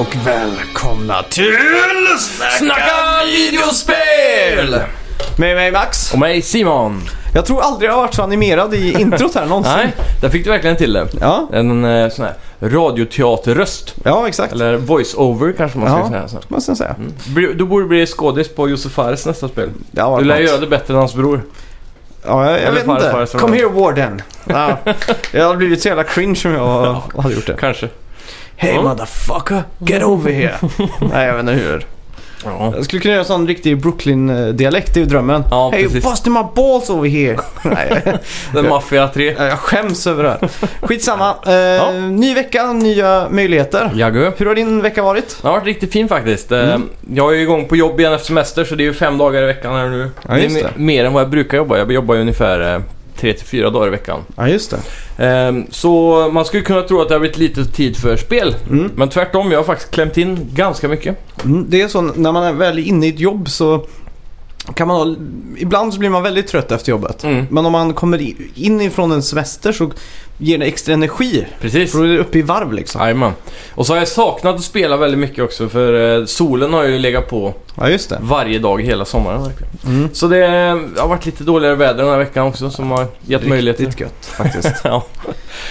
och välkomna till Snacka videospel! Med mig Max. Och mig Simon. Jag tror aldrig jag har varit så animerad i introt här någonsin. Nej, där fick du verkligen till det. Ja, En eh, sån här radioteaterröst. ja exakt. Eller Mm. voice-over kanske man ska Ja. säga. Så. Vad ska jag säga? Bli- Du borde bli skådis på Josef Fares nästa spel. Det har varit Du lär något. göra det bättre än hans bror. Ja, jag, jag Eller vet farfar, inte. farfar. Come here warden. Ja. Jag hade blivit så jävla cringe om jag hade gjort det. Kanske. Hey Ja. motherfucker, get over here. Nej, jag vet inte hur. Ja. Jag skulle kunna göra en sån riktig Brooklyn-dialekt, det är ju drömmen. Ja, hey, precis. busting my balls over here. Nej, The Mafia 3. jag skäms över det här. Skitsamma. Eh, Ja. Ny vecka, nya möjligheter. Jaggu. Hur har din vecka varit? Den har varit riktigt fin faktiskt. Eh, Mm. Jag är ju igång på jobb igen efter semester så det är ju fem dagar i veckan här nu. Ja, det är just me- det. mer än vad jag brukar jobba. Jag jobbar ju ungefär eh, tre till fyra dagar i veckan. Ja, just det. Ehm, Så man skulle kunna tro att det har blivit lite tid för spel. Mm. Men tvärtom, jag har faktiskt klämt in ganska mycket. Mm, Det är så när man är väl inne i ett jobb så kan man ha, ibland så blir man väldigt trött efter Mm. jobbet. Men om man kommer i- in ifrån en semester så ger det extra energi. Precis. För då är det uppe i varv liksom. Jajamän. Och så har jag saknat att spela väldigt mycket också för eh, solen har ju legat på Ja, just det. varje dag hela sommaren verkligen. Mm. Så det eh, har varit lite dåligare väder den här veckan också som har gett möjligheter. Riktigt gött faktiskt. Ja,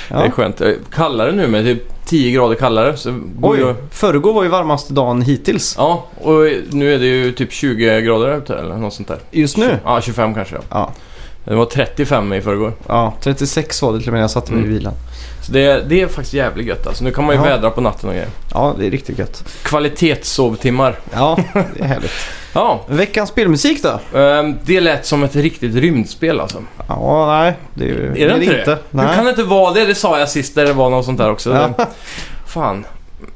det är Ja. skönt. Eh, Kallare nu med typ 10 grader kallare. Så går ju- Oj, förrgår var ju varmaste dagen hittills. Ja, och nu är det ju typ 20 grader här ute eller något sånt där. Just nu? Ja, 25 kanske ja. Ja. Det var 35 i förrgår. ja, 36 var det till och med när jag satte mig Mm. i bilen. Så det, det är faktiskt jävligt gött alltså. Nu kan man ju Ja. vädra på natten och grejer. Ja, det är riktigt gött. Kvalitetssovtimmar. Ja, det är härligt. Ja, Veckans spelmusik då? ehm, det lät som ett riktigt rymdspel alltså. Ja, nej. Det är, ju- Är det inte det? Nej. Hur kan det inte vara det? Det sa jag sist där det var något sånt där också. Ja. Fan.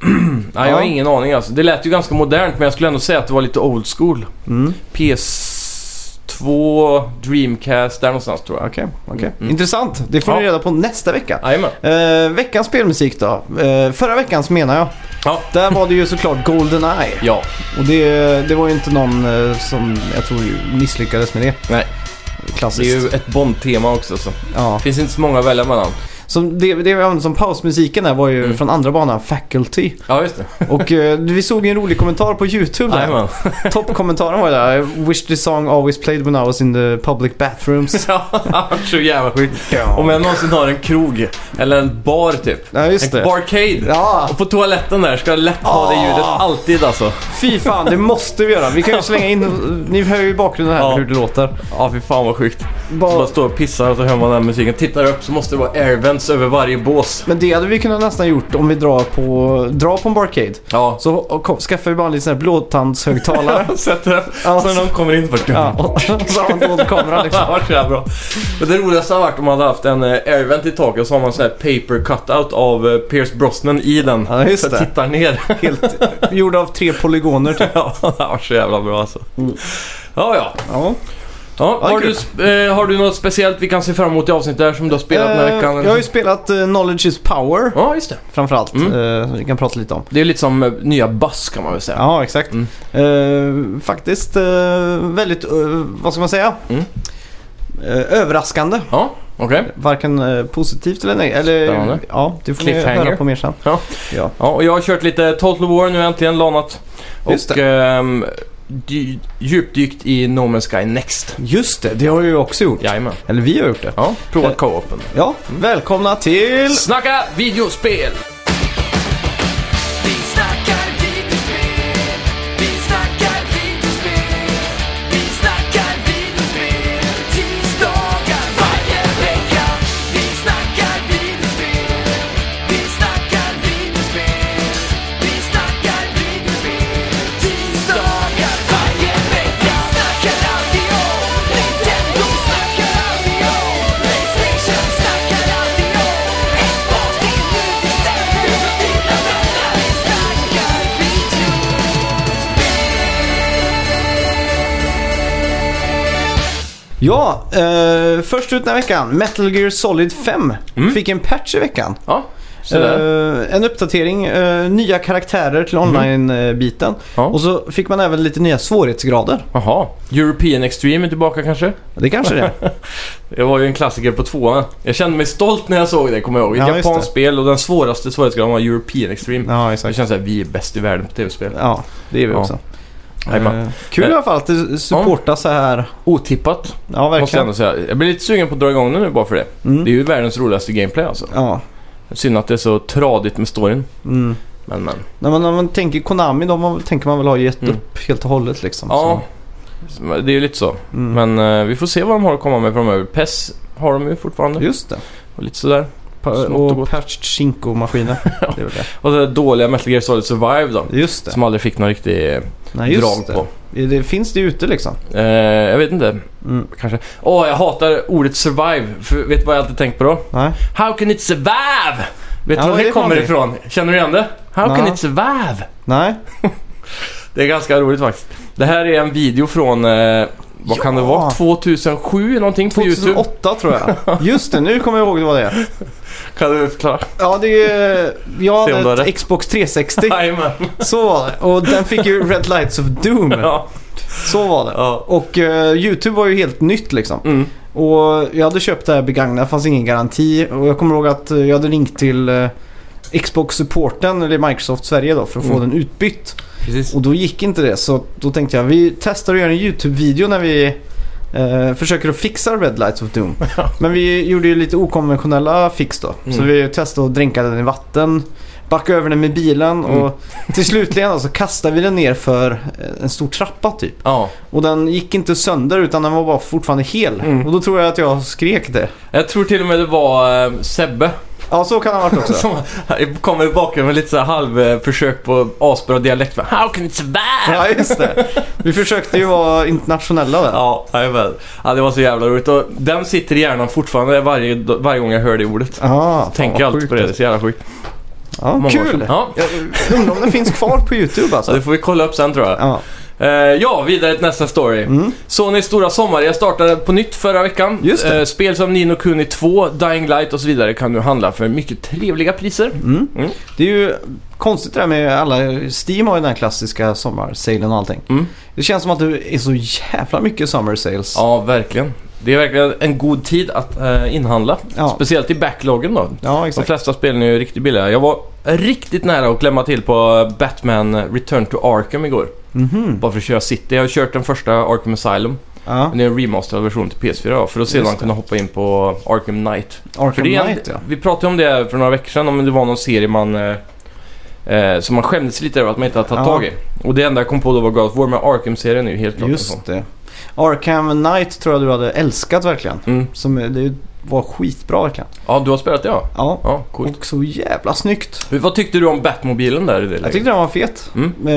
Nej, jag har Ja. ingen aning alltså. Det lät ju ganska modernt men jag skulle ändå säga att det var lite old school. Mm. PS2, Dreamcast, där någonstans tror jag. Okej, okej. Mm. Intressant. Det får ni Ja. reda på nästa vecka. Jajamän. Eh, veckans spelmusik då. Eh, förra veckans menar jag. Ja. Där var det ju såklart Goldeneye. Ja. Och det, det var ju inte någon eh, som jag tror misslyckades med det. Nej, det Klassiskt. är ju ett Bond-tema också så. Det Ja. finns inte så många att välja mellan. Som det, det vi använde som pausmusiken där var ju Mm. från andra banan, Faculty. Ja, just det. Och eh, vi såg ju en rolig kommentar på YouTube där. Jajamän. Toppkommentaren var ju där. I wish this song always played when I was in the public bathrooms. Ja, så jävla sjukt. Om jag någonsin har en krog eller en bar typ. Ja, just En det. barcade. Ja, Och på toaletten där ska jag lätt ha det ljudet Ah. alltid alltså. fy fan, det måste vi göra. Vi kan ju slänga in, ni hör ju i bakgrunden här Ja. hur det låter. Ja, fy fan vad sjukt. Bara- Bara står och pissar och så hör man den här musiken. Tittar upp så måste det vara airvents över varje bås. Men det hade vi kunnat nästan gjort om vi drar på, drar på en barcade. Ja. Så och, kom- skaffar vi bara en liten sån här blåtandshögtalare. Sätter upp. Ja. Så när de kommer in för ja, och så har man dold kamera liksom. Fan vad så jävla bra. Men det roligaste hade varit om man hade haft en eh, airvent i taket och så har man en sån här paper cutout av eh, Pierce Brosnan i den. Ja, just så jag det. tittar ner. Helt gjord av tre polygoner typ. ja, det var så jävla bra alltså. Mm. Ja, ja. Ja. Ja, Ja, har, kul. du, sp- eh, har du något speciellt vi kan se fram emot i avsnittet där som du har spelat den här Eh, veckan? eller Jag har ju så? spelat eh, Knowledge is Power Ja, just det. framförallt. Mm. eh, som vi kan prata lite om. Det är lite som eh, nya Buzz kan man väl säga. Ja, exakt. Mm. Eh, faktiskt eh, väldigt, eh, vad ska man säga? Mm. Eh, överraskande. Ja, okej. Varken eh, positivt eller negativt. Eller, Spännande. ja, det får ni Cliffhanger. höra på mer sen. Ja. Ja. Ja, och jag har kört lite Total War nu äntligen, lanat. Just Och ehm, dy- djupdykt i No Man's Sky Next. Just det, det har jag ju också gjort. Jajamän. Eller vi har gjort det. Ja, provat co-open. Ja, välkomna till... Snacka videospel! Vi snackar videospel, vi snackar videospel, vi snackar videospel, tisdagar varje vecka. Vi snackar videospel, vi snackar videospel, vi snackar videospel, tisdagar varje vecka. Snackar alltid om Nintendo, snackar alltid om Playstation, snackar alltid om Xbox, det är nu vi sänder, dina vänner. Vi snackar video. Ja, Mm. eh, först ut den här veckan. Metal Gear Solid 5 fick en patch i veckan. Ja, sådär. Eh, en uppdatering, eh, nya karaktärer till online-biten. Ja. Och så fick man även lite nya svårighetsgrader. Jaha, European Extreme är tillbaka kanske? Det kanske det är. Det var ju en klassiker på tvåan. Jag kände mig stolt när jag såg det, kommer jag ihåg. Ett Ja, just japanskt det. spel och den svåraste svårighetsgraden var European Extreme. Ja, Så det exakt. känns såhär, vi är bäst i världen på tv-spel. Ja, det är vi Ja. också. Jajamän. Eh, Kul i alla fall att det supportas så här. Otippat, Ja, måste jag verkligen. ändå säga. Jag blir lite sugen på att dra igång det nu bara för det. Det är Mm. ju världens roligaste gameplay alltså. Ja. Synd att det är så tradigt med storyn. Mm. Men men. När, man, när man tänker Konami, de har- tänker man väl ha gett Mm. upp helt och hållet liksom. Ja, det är ju lite så. Så, mm. Men eh, vi får se vad de har att komma med framöver. PES har de ju fortfarande. Just det. Och lite sådär. Pa- Smått och och gott. Patched Shinko-maskiner. Det är väl det. Och det där dåliga Metal Gear Solid Survive då. Just det. Som aldrig fick någon riktig eh, Nej, just drag det. på. Det finns det ute liksom. Eh, jag vet inte, Mm. kanske. Åh, jag hatar ordet survive. För vet du vad jag alltid tänkt på då? Nej. How can it survive? Vet Ja, du var det det, är kommer någonting. ifrån? Känner du igen det? How Nej. can it survive? Nej. Det är ganska roligt faktiskt. Det här är en video från, eh, vad kan det Ja. vara? 2007 någonting på YouTube? 2008 tror jag. Just det, nu kommer jag ihåg vad det är. Kan du förklara? Ja, det är Jag Se om du har hade rätt. ett Xbox 360. Jajamän. Så var det. Och den fick ju Red Lights of Doom. Ja. Så var det. ja. Och eh, YouTube var ju helt nytt liksom. Mm. Och jag hade köpt det här begagnat, det fanns ingen garanti. Och jag kommer ihåg att eh, jag hade ringt till eh, Xbox-supporten, eller Microsoft Sverige då, för att få Mm. den utbytt. Precis. Och då gick inte det, så då tänkte jag vi testar att göra en YouTube-video när vi eh, försöker att fixa Red Lights of Doom. Men vi gjorde ju lite okonventionella fix då. Så Mm. vi testade att dränka den i vatten, backa över den med bilen Mm. och till slutligen då, så kastade vi den ner för eh, en stor trappa typ. Ja. Och den gick inte sönder utan den var bara fortfarande hel. Mm. Och då tror jag att jag skrek det. Jag tror till och med det var eh, Sebbe Ja, så kan det ha varit också. som kommer i bakgrunden med lite så här halv eh, försök på asbra dialekt. va? How can it survive? Ja, just det. Vi försökte ju vara internationella där. Ja, jajamän. Ja, det var så jävla roligt. Och den sitter i hjärnan fortfarande varje, varje gång jag hör det ordet. Ah, fan, Tänker vad alltid sjukt på det, det är alltså. så jävla sjukt. Ja, Många år sedan. kul! Ja. Jag undrar om den finns kvar på YouTube Så alltså. det får vi kolla upp sen tror jag. Ja, Eh, ja, vidare till nästa story. Mm. Sonys stora sommar. Jag startade på nytt förra veckan. Just det. Eh, spel som Nino Kuni 2, Dying Light och så vidare kan du handla för mycket trevliga priser. mm. Mm. Det är ju konstigt det där med alla... Steam har ju den här klassiska sommarsalen och allting. Mm. Det känns som att det är så jävla mycket summer sales. Ja, verkligen. Det är verkligen en god tid att eh, inhandla. Ja. Speciellt i backloggen då. Ja, De exakt. flesta spelen är ju riktigt billiga. Jag var riktigt nära att klämma till på Batman Return to Arkham igår. Mhm. Bara för att köra City. Jag har kört den första Arkham Asylum. Ja, Men det är en remasterad version till PS4 då, för att sedan Just det. kunna hoppa in på Arkham Knight. För Arkham det är en, Knight ja. Vi pratade om det för några veckor sedan, om det var någon serie man... Eh, eh, som man skämdes lite över att man inte hade tagit Ja. tag i. Och det enda jag kom på då var God of War, men Arkham-serien är ju helt klart Liksom. en sån. Just det. Arkham Knight tror jag du hade älskat verkligen. Mm. Som det var skitbra verkligen. Ja, du har spelat det ja? Ja, Ja, coolt. och så jävla snyggt. Hur- Vad tyckte du om Batmobilen där i det Jag läget? tyckte den var fet. Mm. Eh,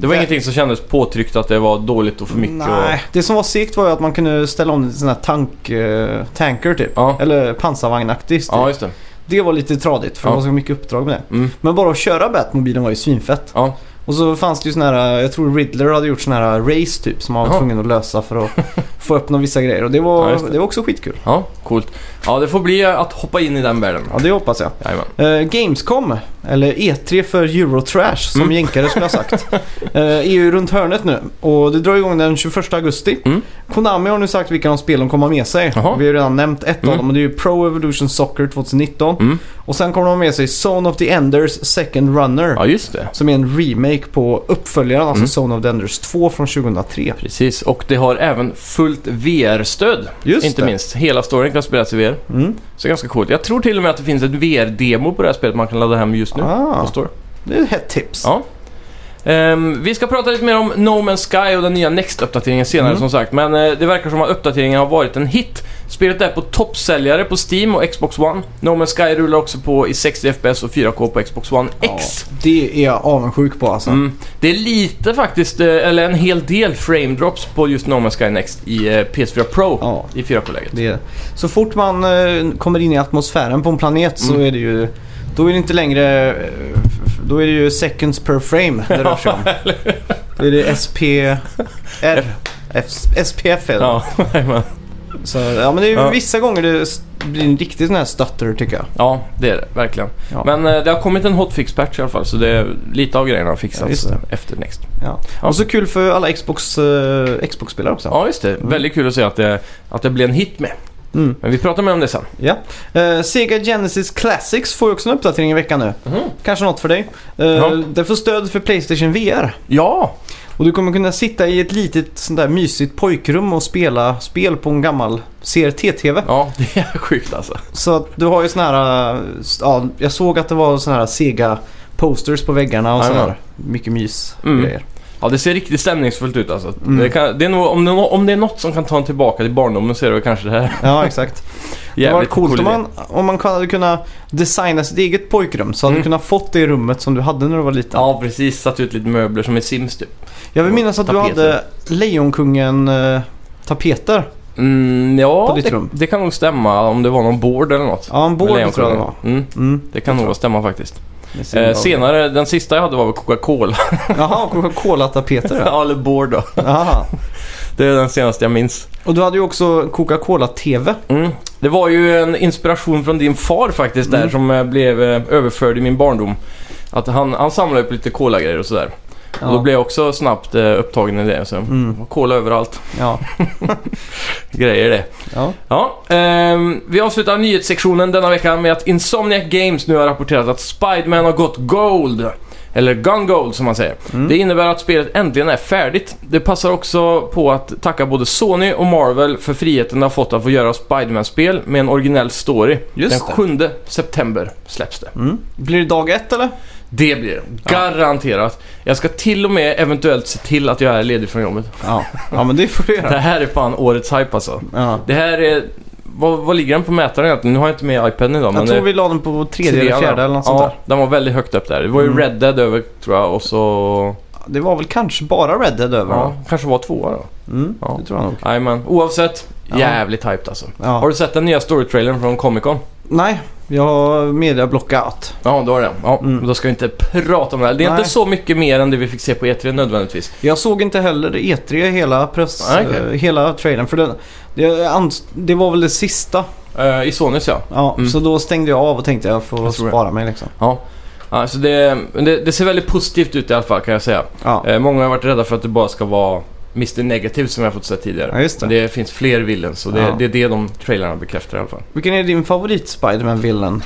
Det var ingenting som kändes påtryckt att det var dåligt och för mycket Nej, det som var segt var ju att man kunde ställa om till sån här tank, eh, tanker typ. Ja. Eller pansarvagnaktigt. typ. och... Ja, just det. Det var lite tradigt för Ja. det var så mycket uppdrag med det. Mm. Men bara att köra Batmobilen var ju svinfett. Ja. Och så fanns det ju sån här, eh, jag tror Riddler hade gjort sån här race typ som man var Jaha. tvungen att lösa för att få upp några vissa grejer. Och det var, Ja, just det. det. var också skitkul. Ja, coolt. Ja, det får bli att hoppa in i den världen. Ja, det hoppas jag. Jajamän. Eh, Gamescom, eller E3 för Eurotrash som Mm. jänkare skulle ha sagt, eh, är ju runt hörnet nu. Och det drar igång den 21 augusti. Mm. Konami har nu sagt vilka de spel de kommer ha med sig. Jaha. Vi har ju redan nämnt ett av Mm. dem och det är ju Pro Evolution Soccer 2019. Mm. Och sen kommer de ha med sig Zone of the Enders Second Runner. Ja, just det. Som är en remake på uppföljaren, alltså Mm. Zone of the Enders 2 från 2003. Precis, och det har även fullt VR-stöd. Just inte det. minst. Hela storyn kan spelas i VR. Mm. Så ganska coolt. Jag tror till och med att det finns ett VR-demo på det här spelet man kan ladda hem just nu. På Ah, store. det är ett hett tips. Ja. Ehm, vi ska prata lite mer om No Man's Sky och den nya Next-uppdateringen senare Mm. som sagt. Men eh, det verkar som att uppdateringen har varit en hit. Spelet är på toppsäljare på Steam och Xbox One. No Man's Sky rullar också på i 60 FPS och 4K på Xbox One X. Ja, det är jag avundsjuk på alltså. Mm. Det är lite faktiskt, eh, eller en hel del frame drops på just No Man's Sky Next i eh, PS4 Pro Ja. i 4K-läget. Det är, så fort man eh, kommer in i atmosfären på en planet så Mm. är det ju... Då är det inte längre... eh, f- Då är det ju seconds per frame det rör sig om. Då är det SPR. F, SPF är det. Ja, jajamän. Så, ja, men det är ju Ja. vissa gånger det s- blir en riktig sån här stutter tycker jag. Ja, det är det. Verkligen. Ja. Men eh, det har kommit en hotfix-patch i alla fall, så det är lite av grejerna har Ja, fixats just det. efter Next. ja. Och så kul för alla Xbox, eh, Xbox-spelare också. Ja, just det. Väldigt kul att se att det, att det blev en hit med. Mm. Men vi pratar mer om det sen. Ja. Eh, Sega Genesis Classics får ju också en uppdatering i veckan nu. Kanske något för dig. Eh, Ja. Det får stöd för Playstation VR. Ja! Och du kommer kunna sitta i ett litet sånt där mysigt pojkrum och spela spel på en gammal CRT-TV. Ja, det är sjukt alltså. Så att du har ju sån här... eh, Ja, jag såg att det var sån här Sega posters på väggarna och sån Jajamän. här mycket mys Mm. grejer. Ja, det ser riktigt stämningsfullt ut alltså. Mm. Det kan, det är nog, om, det, är nå- om det är något som kan ta en tillbaka till barndomen så är det väl kanske det här. Ja, exakt. det var Jävligt coolt om cool idé. man, om man hade kunnat designa sitt eget pojkrum så hade Mm. du kunnat fått det rummet som du hade när du var liten. Ja, precis. Satt ut lite möbler som i Sims typ. Jag vill minnas att Tapeter. du hade eh, Lejonkungen-tapeter. Mm, På ja, ditt det, rum. det kan nog stämma om det var någon board eller något. ja, en båt Med tror jag det Lejonkungen. var. Mm, Mm. det kan nog stämma faktiskt. med sin Eh, board. senare, den sista jag hade var väl Coca-Cola. Jaha, Coca-Cola-tapeter ja. ja, eller board då. Jaha. Det är den senaste jag minns. Och du hade ju också Coca-Cola-TV. Mm. Det var ju en inspiration från din far faktiskt där Mm. som eh, blev eh, överförd i min barndom. Att han, han samlade upp lite Cola-grejer och sådär. Ja. Och då blev jag också snabbt eh, upptagen i det. Så. Mm. Cola överallt. Ja. Grejer det. ja. Ja, ehm, vi avslutar nyhetssektionen denna vecka med att Insomniac Games nu har rapporterat att Spiderman har gått gold. Eller Gun Gold som man säger. Mm. Det innebär att spelet äntligen är färdigt. Det passar också på att tacka både Sony och Marvel för friheten de har fått att få göra Spiderman-spel med en originell story. Just Den 7 september släpps det. Mm. Blir det dag ett eller? Det blir det. Ja. Garanterat. Jag ska till och med eventuellt se till att jag är ledig från jobbet. Ja, ja men det får du Det göra. här är fan årets hype alltså. Ja. Det här är... Vad, vad ligger den på mätaren egentligen? Nu har jag inte med iPaden idag. Jag men tror det- vi la den på tredje eller trean, fjärde ja. eller något ja, sånt där. den var väldigt högt upp där. Det var ju Mm. Red Dead över tror jag och så... Det var väl kanske bara Red Dead över Ja, va? kanske var tvåa då. Mm, Ja. det tror jag nog. Jajamän. Oavsett, Ja. jävligt hyped alltså. Har Ja. du sett den nya storytrailern från Comic Con? Nej, jag har mediablockat. Ja, då har det. Ja, Mm. Då ska vi inte prata om det här. Det är Nej. inte så mycket mer än det vi fick se på E3 nödvändigtvis. Jag såg inte heller E3 hela, press, Nej, okej. eh, hela trailern. För den, det, ans- det var väl det sista. Eh, I Sonys ja. Ja, Mm. Så då stängde jag av och tänkte jag får Jag tror det. spara mig liksom. ja. Alltså det, men det, det ser väldigt positivt ut i alla fall kan jag säga. Ja. Eh, många har varit rädda för att det bara ska vara Mr. Negative som jag fått se tidigare. Ja, just det. Men det finns fler villains och det, Ja. det är det de trailerna bekräftar i alla fall. Vilken är din favorit Spiderman-villain?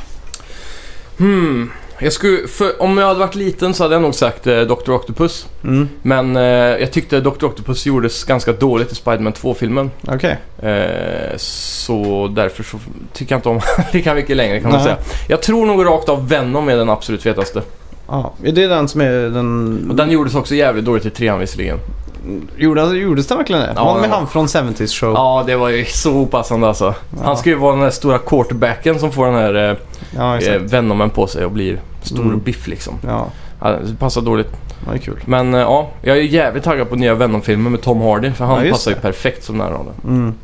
Hmm. Jag skulle, för, om jag hade varit liten så hade jag nog sagt eh, Dr. Octopus. Mm, Men eh, jag tyckte Dr. Octopus gjordes ganska dåligt i Spiderman 2-filmen. okej. Eh, så därför så tycker jag inte om han lika mycket längre kan man Nej. säga. Jag tror nog rakt av Venom är den absolut fetaste. Ja, är det den som är den... Och den gjordes också jävligt dåligt i trean visserligen. Gjorde, gjordes den verkligen det? Ja, var det med ja. han från 70s show? Ja, det var ju så opassande alltså. Han ska ju vara den där stora quarterbacken som får den här Ja, eh, exakt. Venomen på sig och blir stor Mm. och biff liksom. Ja, Ja, det passar dåligt. det är kul. Men eh, ja, jag är jävligt taggad på nya Venom-filmen med Tom Hardy för han Ja, just passar ju det. perfekt som den här rollen. Mm.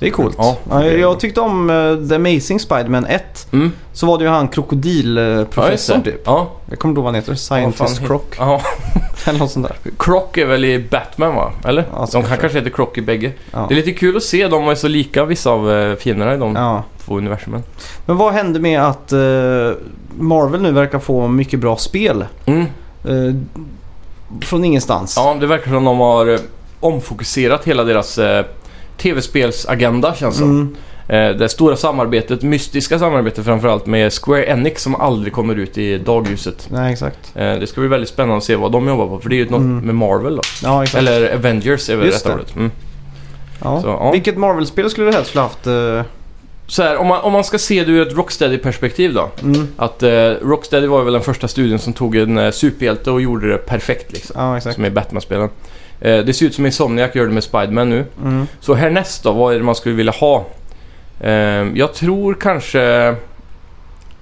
Det är coolt. Ja, Ja, det är- jag tyckte om eh, The Amazing Spiderman 1. Mm. Så var det ju han Ja, just krokodilprofessorn det. typ. Ja, Jag kommer inte ihåg vad han heter. Vad fan Mm. Scientist het- Croc ja. eller något sånt där. Croc är väl i Batman va? Eller? Ja, så de kan kanske. kanske heter Croc i bägge. Ja. Det är lite kul att se, de är så lika vissa av eh, fienderna i de Ja. två universumen. Men vad hände med att eh, Marvel nu verkar få mycket bra spel? Mm. Eh, från ingenstans. Ja, det verkar som de har eh, omfokuserat hela deras eh, tv-spelsagenda känns det som. Mm. Eh, Det stora samarbetet, mystiska samarbetet framförallt med Square Enix som aldrig kommer ut i dagljuset. Nej, exakt. Eh, Det ska bli väldigt spännande att se vad de jobbar på för det är ju något Mm. med Marvel då. Ja, exakt. Eller Avengers är väl Just rätta det. ordet. Mm. ja. Så, ja. Vilket Marvel-spel skulle du helst vilja haft? eh, Så här, om, man, om man ska se det ur ett Rocksteady-perspektiv då. Mm. Att eh, Rocksteady var väl den första studion som tog en eh, superhjälte och gjorde det perfekt liksom. Ja, exakt. Som i Batman-spelen. Eh, det ser ut som Insomniac gör det med Spiderman nu. Mm. Så härnäst då, vad är det man skulle vilja ha? Ehm, jag tror kanske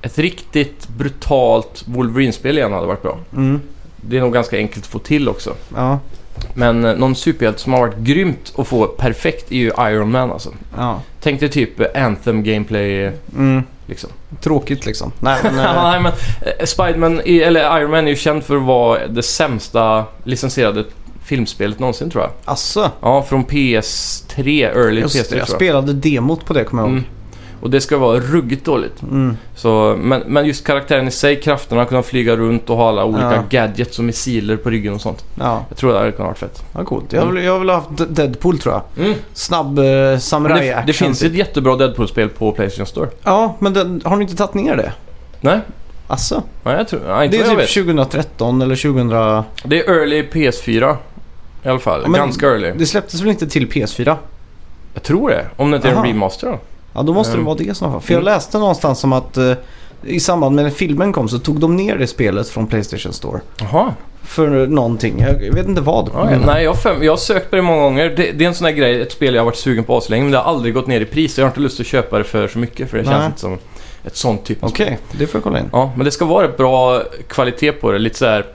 ett riktigt brutalt Wolverine-spel igen hade varit bra. Mm. Det är nog ganska enkelt att få till också. Ja. Men eh, någon superhjälte som har varit grymt att få perfekt är ju Iron Man alltså. ja. Tänk dig typ eh, Anthem gameplay eh, Mm. liksom. Tråkigt liksom. Nej, men, eh, Nej men eh, Spiderman, i- eller Iron Man är ju känd för att vara det sämsta licensierade filmspelet någonsin tror jag. Asså? Ja, från PS3, early Just, det, PS3 jag tror jag. spelade demot på det kommer jag ihåg. Mm. Och det ska vara ruggigt dåligt. Mm. Så, men, men just karaktären i sig, krafterna, att kunna flyga runt och ha alla olika Ja. gadgets och missiler på ryggen och sånt. Ja, Jag tror det hade kunnat varit fett. ja coolt. Mm. Jag vill, jag vill ha haft Deadpool tror jag. Snabb eh, Men samurai Det, det finns typ. ett jättebra Deadpool-spel på Playstation Store. Ja, men den, har ni inte tagit ner det? Nej, Asså? nej jag tror, nej, inte Det vad jag är vet. typ 2013 eller 2000... Det är early PS4. I alla fall, Ja, men- ganska early. Det släpptes väl inte till PS4? Jag tror det, om det inte är Aha. en remaster då. Ja, då måste Mm. det vara det i så fall. För jag Mm. läste någonstans som att eh, i samband med när filmen kom så tog de ner det spelet från Playstation Store. Jaha. För någonting. Jag vet inte vad. Ja, ja. Nej, jag, har fem, jag har sökt på det många gånger. Det, det är en sån här grej, ett spel jag har varit sugen på aslänge, men det har aldrig gått ner i pris. Jag har inte lust att köpa det för så mycket, för det känns Nej. inte som ett sånt typ av spel. Okej, det får jag kolla in. Ja, men det ska vara ett bra kvalitet på det. Lite så här,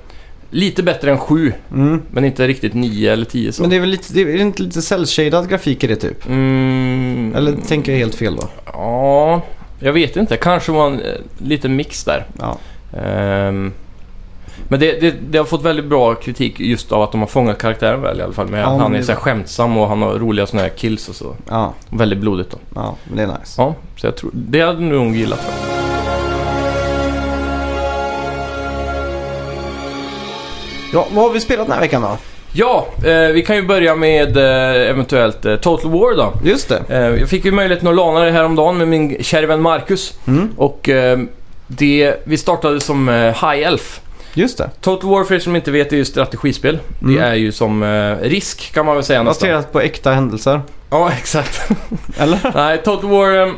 lite bättre än 7, Mm. men inte riktigt 9 eller 10 så. Men det är väl lite, det är inte lite cell-shaded grafik i det typ? Mm, Eller tänker jag helt fel då? Ja, jag vet inte. Kanske var en eh, liten mix där. Ja. Ehm, men det, det, det har fått väldigt bra kritik just av att de har fångat karaktären väl i alla fall. Med Ja, att men han är det- så här skämtsam och han har roliga såna här kills och så. Ja, Väldigt blodigt då. ja, men det är nice. Ja, så jag tror... Det hade du nog gillat. tror jag. Ja, vad har vi spelat den här veckan då? Ja, eh, vi kan ju börja med eh, eventuellt eh, Total War då. Just det. Eh, jag fick ju möjligheten att låna det häromdagen med min kära vän Marcus. Mm, Och eh, det, vi startade som eh, High Elf. just det. Total War, för er som inte vet, är ju strategispel. Mm. Det är ju som eh, risk kan man väl säga nästan. Baserat på äkta händelser. Ja, exakt. Eller? Nej, Total War... ehm,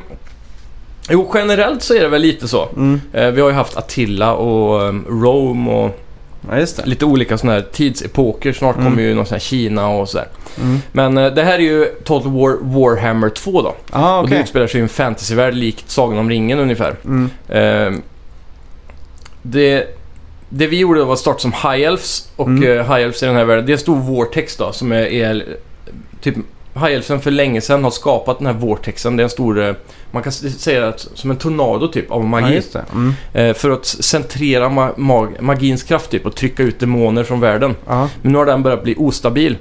Jo, generellt så är det väl lite så. Mm. Eh, Vi har ju haft Attila och ehm, Rome och Ja, just det. lite olika sådana här tidsepoker. Snart Mm. kommer ju någon sån här Kina och sådär. Mm. Men eh, det här är ju Total War Warhammer 2 då. Ah, Och det okej. utspelar sig i en fantasyvärld likt Sagan om ringen ungefär. Mm. Ehm, det, det vi gjorde var att starta som High Elves och Mm. eh, High Elves i den här världen, det är en stor Vortex då som är, är typ High Elfsen för länge sedan har skapat den här Vortexen. Det är en stor, eh, man kan s- säga att som en tornado typ av Ja, magi. just det. Mm. Eh, för att centrera ma- mag- magins kraft typ och trycka ut demoner från världen. Ja, Men nu har den börjat bli ostabil.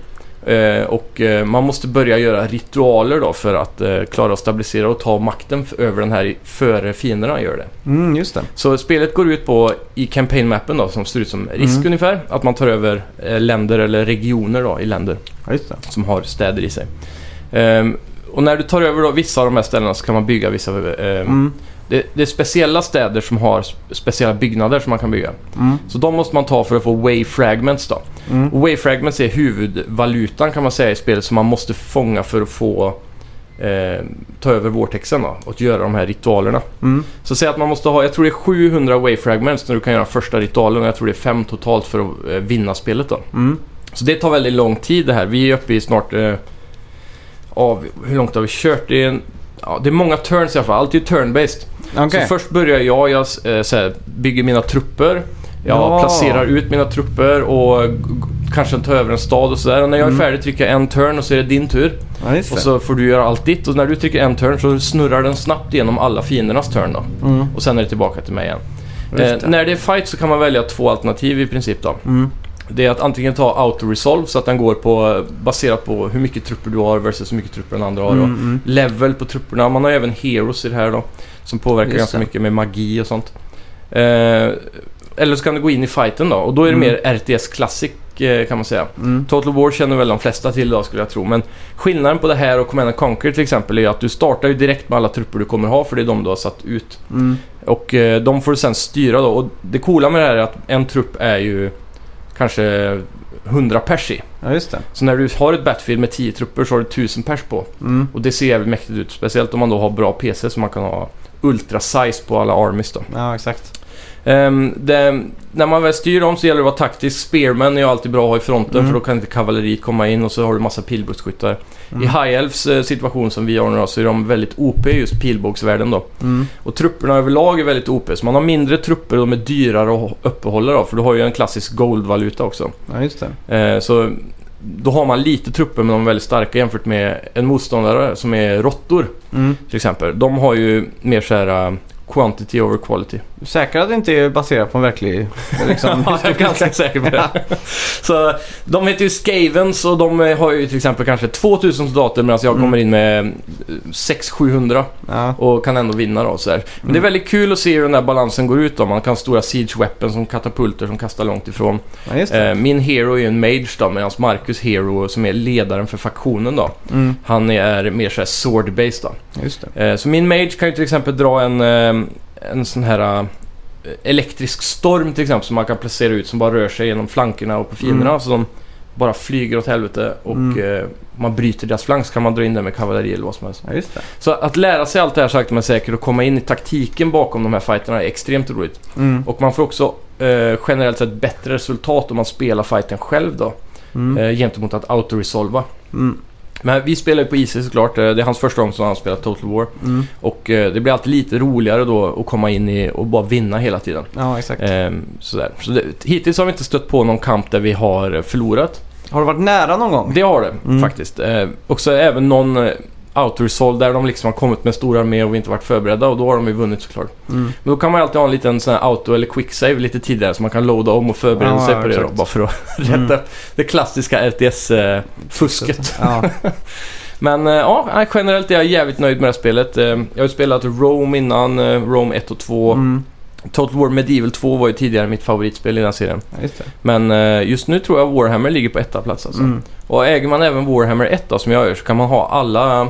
Eh, och eh, man måste börja göra ritualer då för att eh, klara att stabilisera och ta makten f- över den här i- före fienderna gör det. mm, just det. Så spelet går ut på, i campaign-mappen då, som ser ut som risk Mm. ungefär, att man tar över eh, länder eller regioner då, i länder Ja, just det. som har städer i sig. Ehm, och när du tar över då vissa av de här ställena så kan man bygga vissa... ehm, Mm. det, det är speciella städer som har sp- speciella byggnader som man kan bygga. Mm. Så de måste man ta för att få way fragments då. Mm. Och way fragments är huvudvalutan kan man säga i spelet som man måste fånga för att få eh, ta över vortexen då och göra de här ritualerna. Mm. Så säg att man måste ha, jag tror det är 700 way fragments när du kan göra första ritualen och jag tror det är fem totalt för att eh, vinna spelet då. Mm. Så det tar väldigt lång tid det här. Vi är uppe i snart... Eh, av, hur långt har vi kört? Det är, en, ja, det är många turns i alla fall. Allt är ju turn-based. Okej. Så först börjar jag, jag eh, så här, bygger mina trupper. Jag Ja. placerar ut mina trupper och g- g- kanske tar över en stad och sådär. Och när jag är Mm. färdig trycker jag en turn och så är det din tur. Ja, just det. Och så får du göra allt ditt. Och när du trycker en turn så snurrar den snabbt igenom alla fiendernas turn då. Mm. Och sen är det tillbaka till mig igen. Just det. Eh, när det är fight så kan man välja två alternativ i princip då. Mm. Det är att antingen ta auto-resolve så att den går på baserat på hur mycket trupper du har versus hur mycket trupper den andra har. Mm. och Mm. Level på trupperna. Man har även heroes i det här då. Som påverkar Just ganska det. mycket med magi och sånt. Eh, eller så kan du gå in i fighten då. Och då är det Mm. mer RTS Classic eh, kan man säga. Mm. Total War känner väl de flesta till idag skulle jag tro. Men skillnaden på det här och Command and Conquer till exempel är ju att du startar ju direkt med alla trupper du kommer ha för det är de du har satt ut. Mm. Och eh, de får du sen styra då. Och det coola med det här är att en trupp är ju kanske 100 pers i. Ja, just det. Så när du har ett Battlefield med 10 trupper så har du 1000 pers på. Mm. Och det ser jävligt mäktigt ut. Speciellt om man då har bra PC så man kan ha ultra size på alla armies då. Ja, exakt. Ehm, det, när man väl styr dem så gäller det att vara taktisk. Spearmen är ju alltid bra att ha i fronten Mm. för då kan inte kavalleriet komma in och så har du massa pilbågsskyttar. Mm. I High Elfs eh, situation som vi har nu då, så är de väldigt OP i just pilbågsvärlden då. Mm. Och trupperna överlag är väldigt OP, så man har mindre trupper och de är dyrare att ho- uppehålla då, för du har ju en klassisk goldvaluta också. Ja, just det. Eh, så då har man lite trupper men de är väldigt starka jämfört med en motståndare som är råttor Mm. till exempel. De har ju mer så här eh, quantity over quality. Du är säker att det inte är baserat på en verklig liksom, Ja, jag är ganska säker på det. så, de heter ju Skavens och de eh, har ju till exempel kanske 2000 soldater medan jag Mm. kommer in med eh, 600-700 Ja. och kan ändå vinna då. Så där. Men Mm. det är väldigt kul att se hur den där balansen går ut då. Man kan ha stora siege weapons som katapulter som kastar långt ifrån. ja, just det. Eh, min hero är ju en mage då medan Marcus hero som är ledaren för faktionen då. Mm, Han är mer såhär sword-based då. just det. Eh, Så min mage kan ju till exempel dra en, eh, en sån här eh, elektrisk storm till exempel som man kan placera ut som bara rör sig genom flankerna och på fienderna. Mm. Så de bara flyger åt helvete och Mm. eh, man bryter deras flank så kan man dra in den med kavalleri eller vad som helst. Ja, just det. Så att lära sig allt det här sakta men säkert och komma in i taktiken bakom de här fighterna är extremt roligt. Mm, Och man får också eh, generellt sett bättre resultat om man spelar fighten själv då. mm, Eh, gentemot att autoresolva. mm, Men vi spelar ju på IC såklart. Eh, Det är hans första gång som han spelar Total War. mm. Och eh, det blir alltid lite roligare då att komma in i och bara vinna hela tiden. Ja, exakt. Ehm, sådär. Så det, hittills har vi inte stött på någon kamp där vi har eh, förlorat. Har du varit nära någon gång? Det har det Mm. faktiskt. Eh, också även någon eh, autoresolve där de liksom har kommit med en stor armé och vi inte varit förberedda och då har de ju vunnit såklart. Mm. Men då kan man ju alltid ha en liten sån här auto eller quicksave lite tidigare så man kan loada om och förbereda Ja, sig ja, på det då, exakt. bara för att Mm. rätta upp det klassiska RTS-fusket. Ja. eh, Men eh, ja, nej, generellt är jag jävligt nöjd med det här spelet. Eh, Jag har ju spelat Rome innan, eh, Rome 1 och 2. Mm. Total War Medieval 2 var ju tidigare mitt favoritspel i den här serien. ja, just det. Men eh, just nu tror jag Warhammer ligger på etta plats alltså. Mm. Och äger man även Warhammer 1 då, som jag gör så kan man ha alla...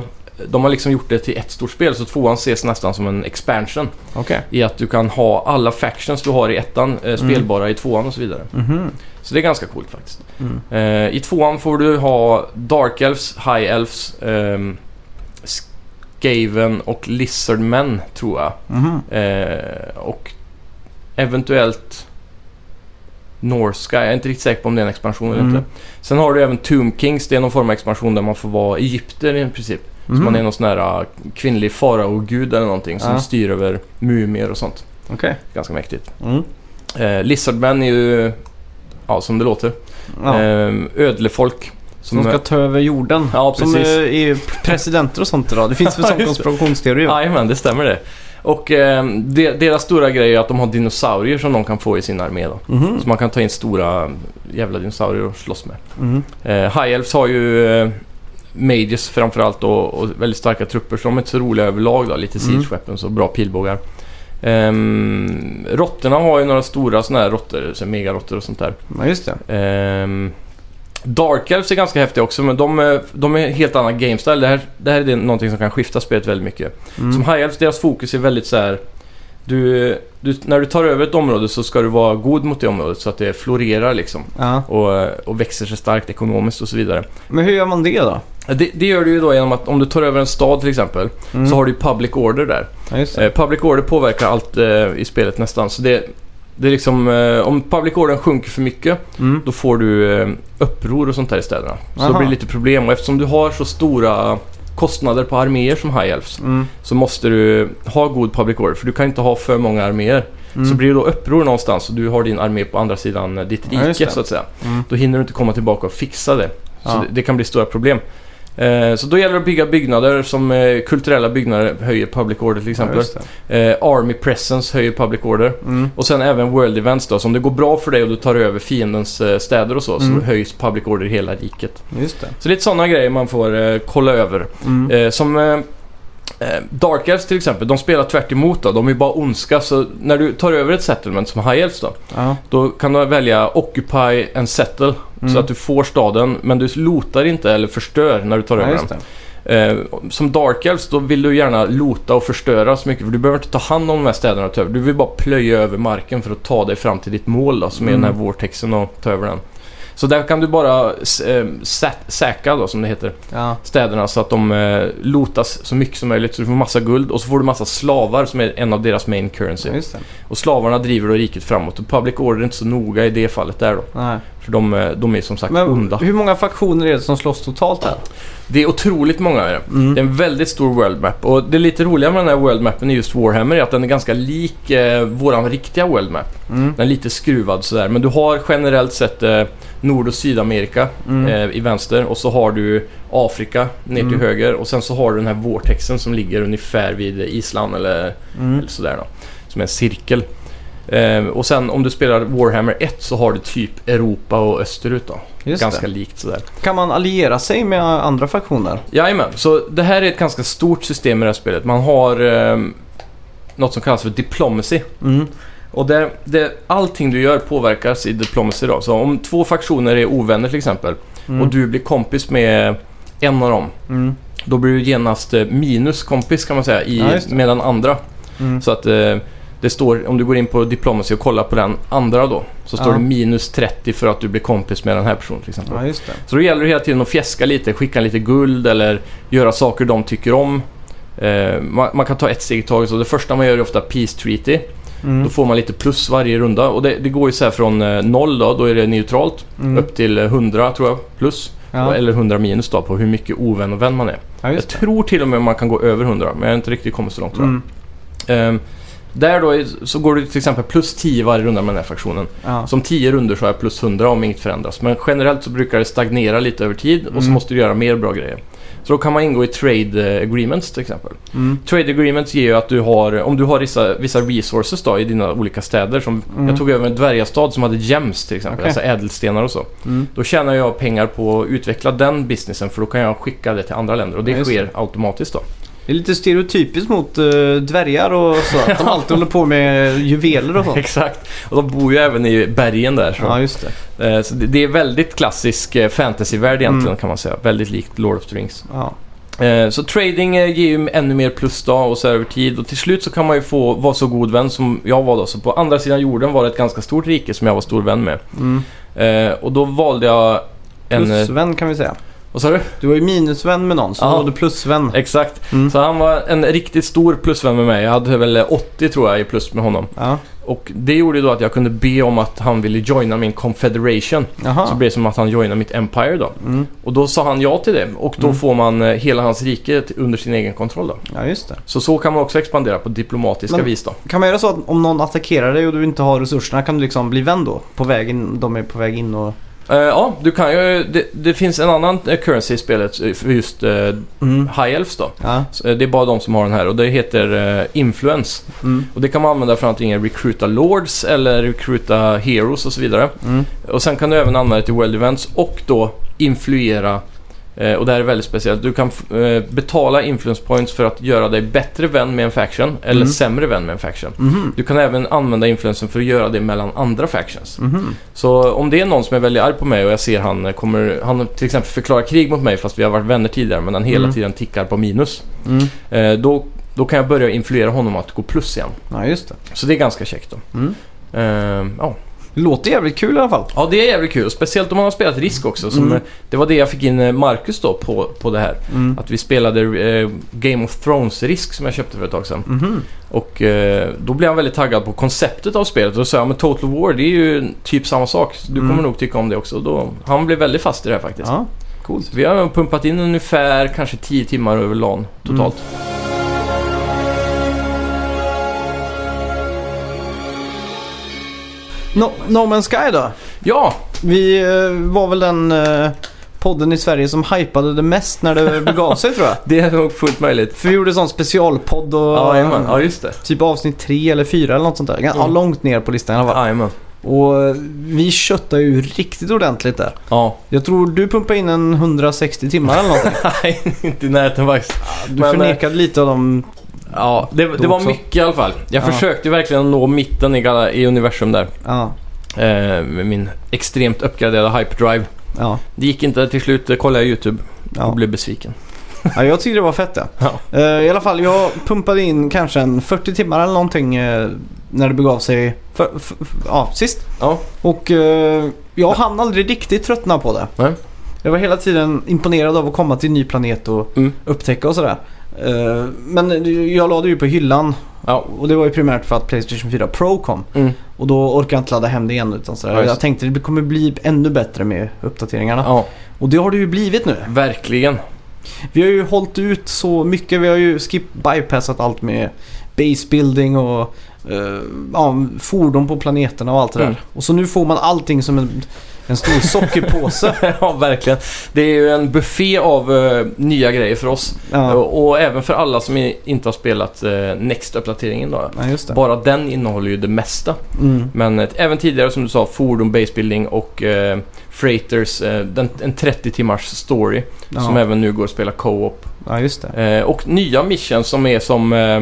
De har liksom gjort det till ett stort spel så tvåan ses nästan som en expansion. Okej. I att du kan ha alla factions du har i ettan eh, spelbara i tvåan och så vidare. Mhm. Så det är ganska coolt faktiskt. Mm. Eh, I tvåan får du ha Dark Elves, High Elves, ehm, Skaven och Lizardmen tror jag. Mhm. Eh, och eventuellt Norska. Jag är inte riktigt säker på om det är en expansion eller Mm. inte. Sen har du även Tomb Kings. Det är någon form av expansion där man får vara Egypter i princip. Så Mhm. man är någon sån här eh, kvinnlig faraogud eller någonting som Ja. styr över mumier och sånt. Mm-hmm. Okej. Ganska mäktigt. Mm. Eh, Lizardmen är ju, ja som det låter, Ja. eh, ödlefolk. Som ska ta över jorden. Ja, Som precis. eh, är presidenter och sånt idag. Det finns väl Ja, sån just det. konspirationsteori? va? Jajamän, det stämmer det. Och eh, de, deras stora grej är att de har dinosaurier som de kan få i sin armé då. Mhm. Så man kan ta in stora jävla dinosaurier och slåss med. Mhm. Eh, High Elves har ju eh, Mages framförallt och, och väldigt starka trupper så de är inte så roliga överlag då. Lite Mm. siege weapons och bra pilbågar. Ehm, råttorna har ju några stora sådana här råttor, så här megaråttor och sånt där. Ja, just det. Ehm, Dark Elves är ganska häftiga också men de, eh, de är helt annan gamestyle. Det här, det här är någonting som kan skifta spelet väldigt mycket. Mm. Som High Elves, deras fokus är väldigt så här. Du, du, när du tar över ett område så ska du vara god mot det området så att det florerar liksom. Ja. Och, och växer sig starkt ekonomiskt och så vidare. Men hur gör man det då? Det, det gör du ju då genom att om du tar över en stad till exempel Mm. så har du ju public order där. Ja, just det. Eh, public order påverkar allt eh, i spelet nästan. Så det, det är liksom, eh, om public ordern sjunker för mycket Mm. då får du eh, uppror och sånt där i städerna. Så Aha. då blir det lite problem och eftersom du har så stora kostnader på arméer som High Elves Mm. så måste du ha god public order för du kan inte ha för många arméer. Mm. Så blir det då uppror någonstans och du har din armé på andra sidan eh, ditt Ja, rike just det. så att säga. Mm. Då hinner du inte komma tillbaka och fixa det. Så Ja. det, det kan bli stora problem. Eh, så då gäller det att bygga byggnader som eh, kulturella byggnader höjer public order till Ja, exempel. just det. eh, Army presence höjer public order. Mm. Och sen även World Events då. Så om det går bra för dig och du tar över fiendens eh, städer och så, Mm. så höjs public order i hela riket. Just det. Så det är lite sådana grejer man får eh, kolla över. Mm. Eh, som eh, eh, Dark Elves till exempel, de spelar tvärt emot då. De är bara ondska. Så när du tar över ett settlement som High Elves då, Ja. då kan du välja Occupy and Settle. Mm. Så att du får staden, men du lootar inte eller förstör när du tar Ja, över just den. det. Eh, som Dark Elves, då vill du gärna loota och förstöra så mycket. För du behöver inte ta hand om de här städerna du tar över. Du vill bara plöja över marken för att ta dig fram till ditt mål då, som är Mm. den här vortexen och ta över den. Så där kan du bara eh, sä- säkra då, som det heter Ja. städerna så att de eh, lotas så mycket som möjligt. Så du får massa guld och så får du massa slavar som är en av deras main currency. ja, just det. Och slavarna driver då riket framåt. Och public order är inte så noga i det fallet där då. Nej. För de, eh, de är som sagt Men onda. hur många faktioner är det som slåss totalt här? Det är otroligt många är det. Mm. Det är en väldigt stor world map. Och det lite roliga med den här world mappen i just Warhammer är att den är ganska lik eh, våran riktiga world map. Mm. Den är lite skruvad sådär. Men du har generellt sett eh, Nord och Sydamerika Mm. eh, i vänster och så har du Afrika ner till Mm. höger och sen så har du den här vortexen som ligger ungefär vid Island eller, Mm. eller sådär då. Som är en cirkel. Eh, och sen om du spelar Warhammer 1 så har du typ Europa och österut då. Just ganska det. likt sådär. Kan man alliera sig med andra faktioner? Jajamän, så det här är ett ganska stort system i det här spelet. Man har eh, något som kallas för diplomacy. Mm. Och det, det, allting du gör påverkas i diplomacy då. Så om två faktioner är ovänner till exempel Mm. och du blir kompis med en av dem. Mm. Då blir du genast eh, minus kompis kan man säga i, Ja, just det. med den andra. Mm. Så att eh, det står, om du går in på diplomacy och kollar på den andra då. Så står Ja. det minus 30 för att du blir kompis med den här personen till exempel. Ja, just det. Så då gäller det hela tiden att fjäska lite, skicka lite guld eller göra saker de tycker om. Eh, man, man kan ta ett steg i taget. Så det första man gör är ofta Peace Treaty. Mm. Då får man lite plus varje runda. Och det, det går ju så här från eh, noll då, då är det neutralt, Mm. upp till eh, 100 tror jag, plus. Ja. Eller 100 minus då, på hur mycket ovän och vän man är. Ja, Jag just det. tror till och med man kan gå över 100, men jag har inte riktigt kommit så långt tror jag. Mm. Ehm, där då är, så går det till exempel plus 10 varje runda med den här fraktionen. Ja. Som 10 runder så har jag plus 100 om inget förändras. Men generellt så brukar det stagnera lite över tid och så Mm. måste du göra mer bra grejer. Så då kan man ingå i trade eh, agreements till exempel. Mm. Trade agreements ger ju att du har, om du har vissa, vissa resources då i dina olika städer. Som Mm. Jag tog över en dvärgastad som hade gems till exempel, Okej. alltså ädelstenar och så. Mm. Då tjänar jag pengar på att utveckla den businessen för då kan jag skicka det till andra länder och det Ja, just det. sker automatiskt då. Det är lite stereotypiskt mot eh, dvärgar och så. Att de alltid håller på med juveler och sånt. Exakt. Och de bor ju även i bergen där. Så. Ja, just det. Eh, Så det- det är väldigt klassisk eh, fantasyvärld egentligen Mm. kan man säga. Väldigt likt Lord of the Rings. Ja. Eh, Så trading eh, ger ju ännu mer plus då och så över tid. Och till slut så kan man ju få vara så god vän som jag var då. Så på andra sidan jorden var det ett ganska stort rike som jag var stor vän med. Mm. Eh, Och då valde jag en... eh, Plusvän kan vi säga. Vad sa du? Du var ju minusvän med någon, så Ja. då var du plusvän. Exakt. Mm. Så han var en riktigt stor plusvän med mig. Jag hade väl 80 tror jag i plus med honom. Ja. Och det gjorde ju då att jag kunde be om att han ville joina min confederation. Så Jaha. blev det som att han joinade mitt empire då. Mm. Och då sa han ja till det och då Mm. får man eh, hela hans rike t- under sin egen kontroll då. Ja, just det. Så så kan man också expandera på diplomatiska Men- vis då. Kan man göra så att om någon attackerar dig och du inte har resurserna kan du liksom bli vän då? På vägen, de är på väg in och... Eh, ja, du kan ju... Det, det finns en annan eh, currency i spelet eh, för just eh, Mm. High Elves då. Ja. Så, eh, Det är bara de som har den här och det heter eh, Influence. Mm. Och det kan man använda för antingen recruita Lords eller recruita Heroes och så vidare. Mm. Och sen kan du även använda det till World Events och då influera. eh, Och det här är väldigt speciellt. Du kan f- eh, betala influence points för att göra dig bättre vän med en faction eller Mm. sämre vän med en faction. Mhm. Du kan även använda influensen för att göra det mellan andra factions. Mhm. Så om det är någon som är väldigt arg på mig och jag ser han eh, kommer, han till exempel förklarar krig mot mig fast vi har varit vänner tidigare men han hela Mm. tiden tickar på minus. Mm. eh, Då, då kan jag börja influera honom att gå plus igen. Ja, just det. Så det är ganska käckt då. Mm. Eh, ja. Det låter jävligt kul i alla fall. Ja, det är jävligt kul. Speciellt om man har spelat Risk också. Som, Mm. eh, Det var det jag fick in eh, Marcus då på, på det här. Mm. Att vi spelade eh, Game of Thrones-Risk som jag köpte för ett tag sedan. Mhm. Och eh, då blev han väldigt taggad på konceptet av spelet. Och då sa jag, men Total War det är ju typ samma sak. Du Mm. kommer nog tycka om det också. Då, han blev väldigt fast i det här faktiskt. Ja. Så vi har pumpat in ungefär kanske 10 timmar över LAN totalt. No, no Man's Sky då? Ja, Vi eh, var väl den eh, podden i Sverige som hypade det mest när det begav sig tror jag. det är nog fullt möjligt. För vi gjorde sån specialpodd och Ja, jajamän. ja just det. typ avsnitt tre eller fyra eller något sånt där. Ja, Mm. Långt ner på listan i alla fall. Jajamän. Och eh, vi köttar ju riktigt ordentligt där. Ja, Jag tror du pumpade in en 160 timmar eller någonting. nej, inte i närheten faktiskt. Du Men, eh, förnekade lite av dem. Ja, det, det Då var också. mycket i alla fall. Jag Ja. försökte verkligen nå mitten i, gala- i universum där. Ja, Eh, med min extremt uppgraderade hyperdrive. ja, Det gick inte. Till slut eh, kollade jag YouTube och ja. blev besviken. ja, jag tyckte det var fett ja. Ja. Eh, I alla fall, jag pumpade in kanske en 40 timmar eller någonting eh, när det begav sig för, f- f- ja, sist. Ja, Och eh, jag hann aldrig riktigt tröttna på det. Nej. Jag var hela tiden imponerad av att komma till en ny planet och Mm. upptäcka och sådär. Eh, men jag lade ju på hyllan ja. och det var ju primärt för att Playstation 4 Pro kom. Mm. Och då orkade jag inte ladda hem det igen utan sådär. Ja, just det. jag tänkte det kommer bli ännu bättre med uppdateringarna. ja Och det har det ju blivit nu. verkligen. Vi har ju hållit ut så mycket. Vi har ju skip bypassat allt med base building och eh, ja, fordon på planeterna och allt det där. Mm. Och så nu får man allting som en En stor sockerpåse. ja, verkligen. Det är ju en buffé av eh, nya grejer för oss. ja. Och, och även för alla som i- inte har spelat eh, Next-uppdateringen då. ja, just det. Bara den innehåller ju det mesta. Mm. Men eh, även tidigare som du sa, fordon, basebuilding och eh, freighters. Eh, den, en 30 timmars story som Ja. även nu går att spela co-op. ja, just det. Eh, och nya missions som är som... Eh,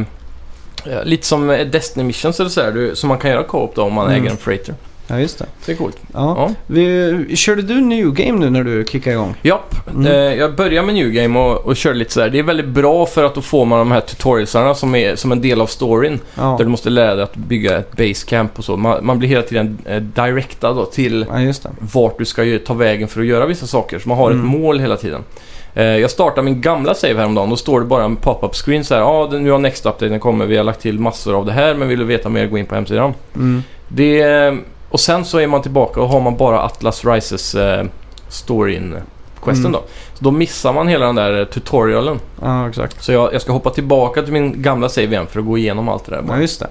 eh, lite som eh, Destiny missions eller sådär. du- Som man kan göra co-op då om man Mm. äger en freighter. Ja, just det. Så det är coolt. Ja. Ja. Vi, körde du New Game nu när du kickade igång? Japp, Mm. eh, jag börjar med New Game och, och kör lite sådär. Det är väldigt bra för att då får man de här tutorialsarna som är som en del av storyn. Ja, Där du måste lära dig att bygga ett basecamp och så. Man, man blir hela tiden eh, directad då till ja just det. vart du ska ju ta vägen för att göra vissa saker. Så man har Mm. ett mål hela tiden. Eh, jag startar min gamla save häromdagen. Då står det bara en pop-up screen så här. Ja, ah, nu har next updaten kommit. Vi har lagt till massor av det här. Men vill du veta mer, gå in på hemsidan. Mm. Det, eh, och sen så är man tillbaka och har man bara Atlas Rises eh, storyn questen Mm. då. Så då missar man hela den där eh, tutorialen. Ja, exakt. Så jag, jag ska hoppa tillbaka till min gamla save igen för att gå igenom allt det där. Ja, Bara. just det.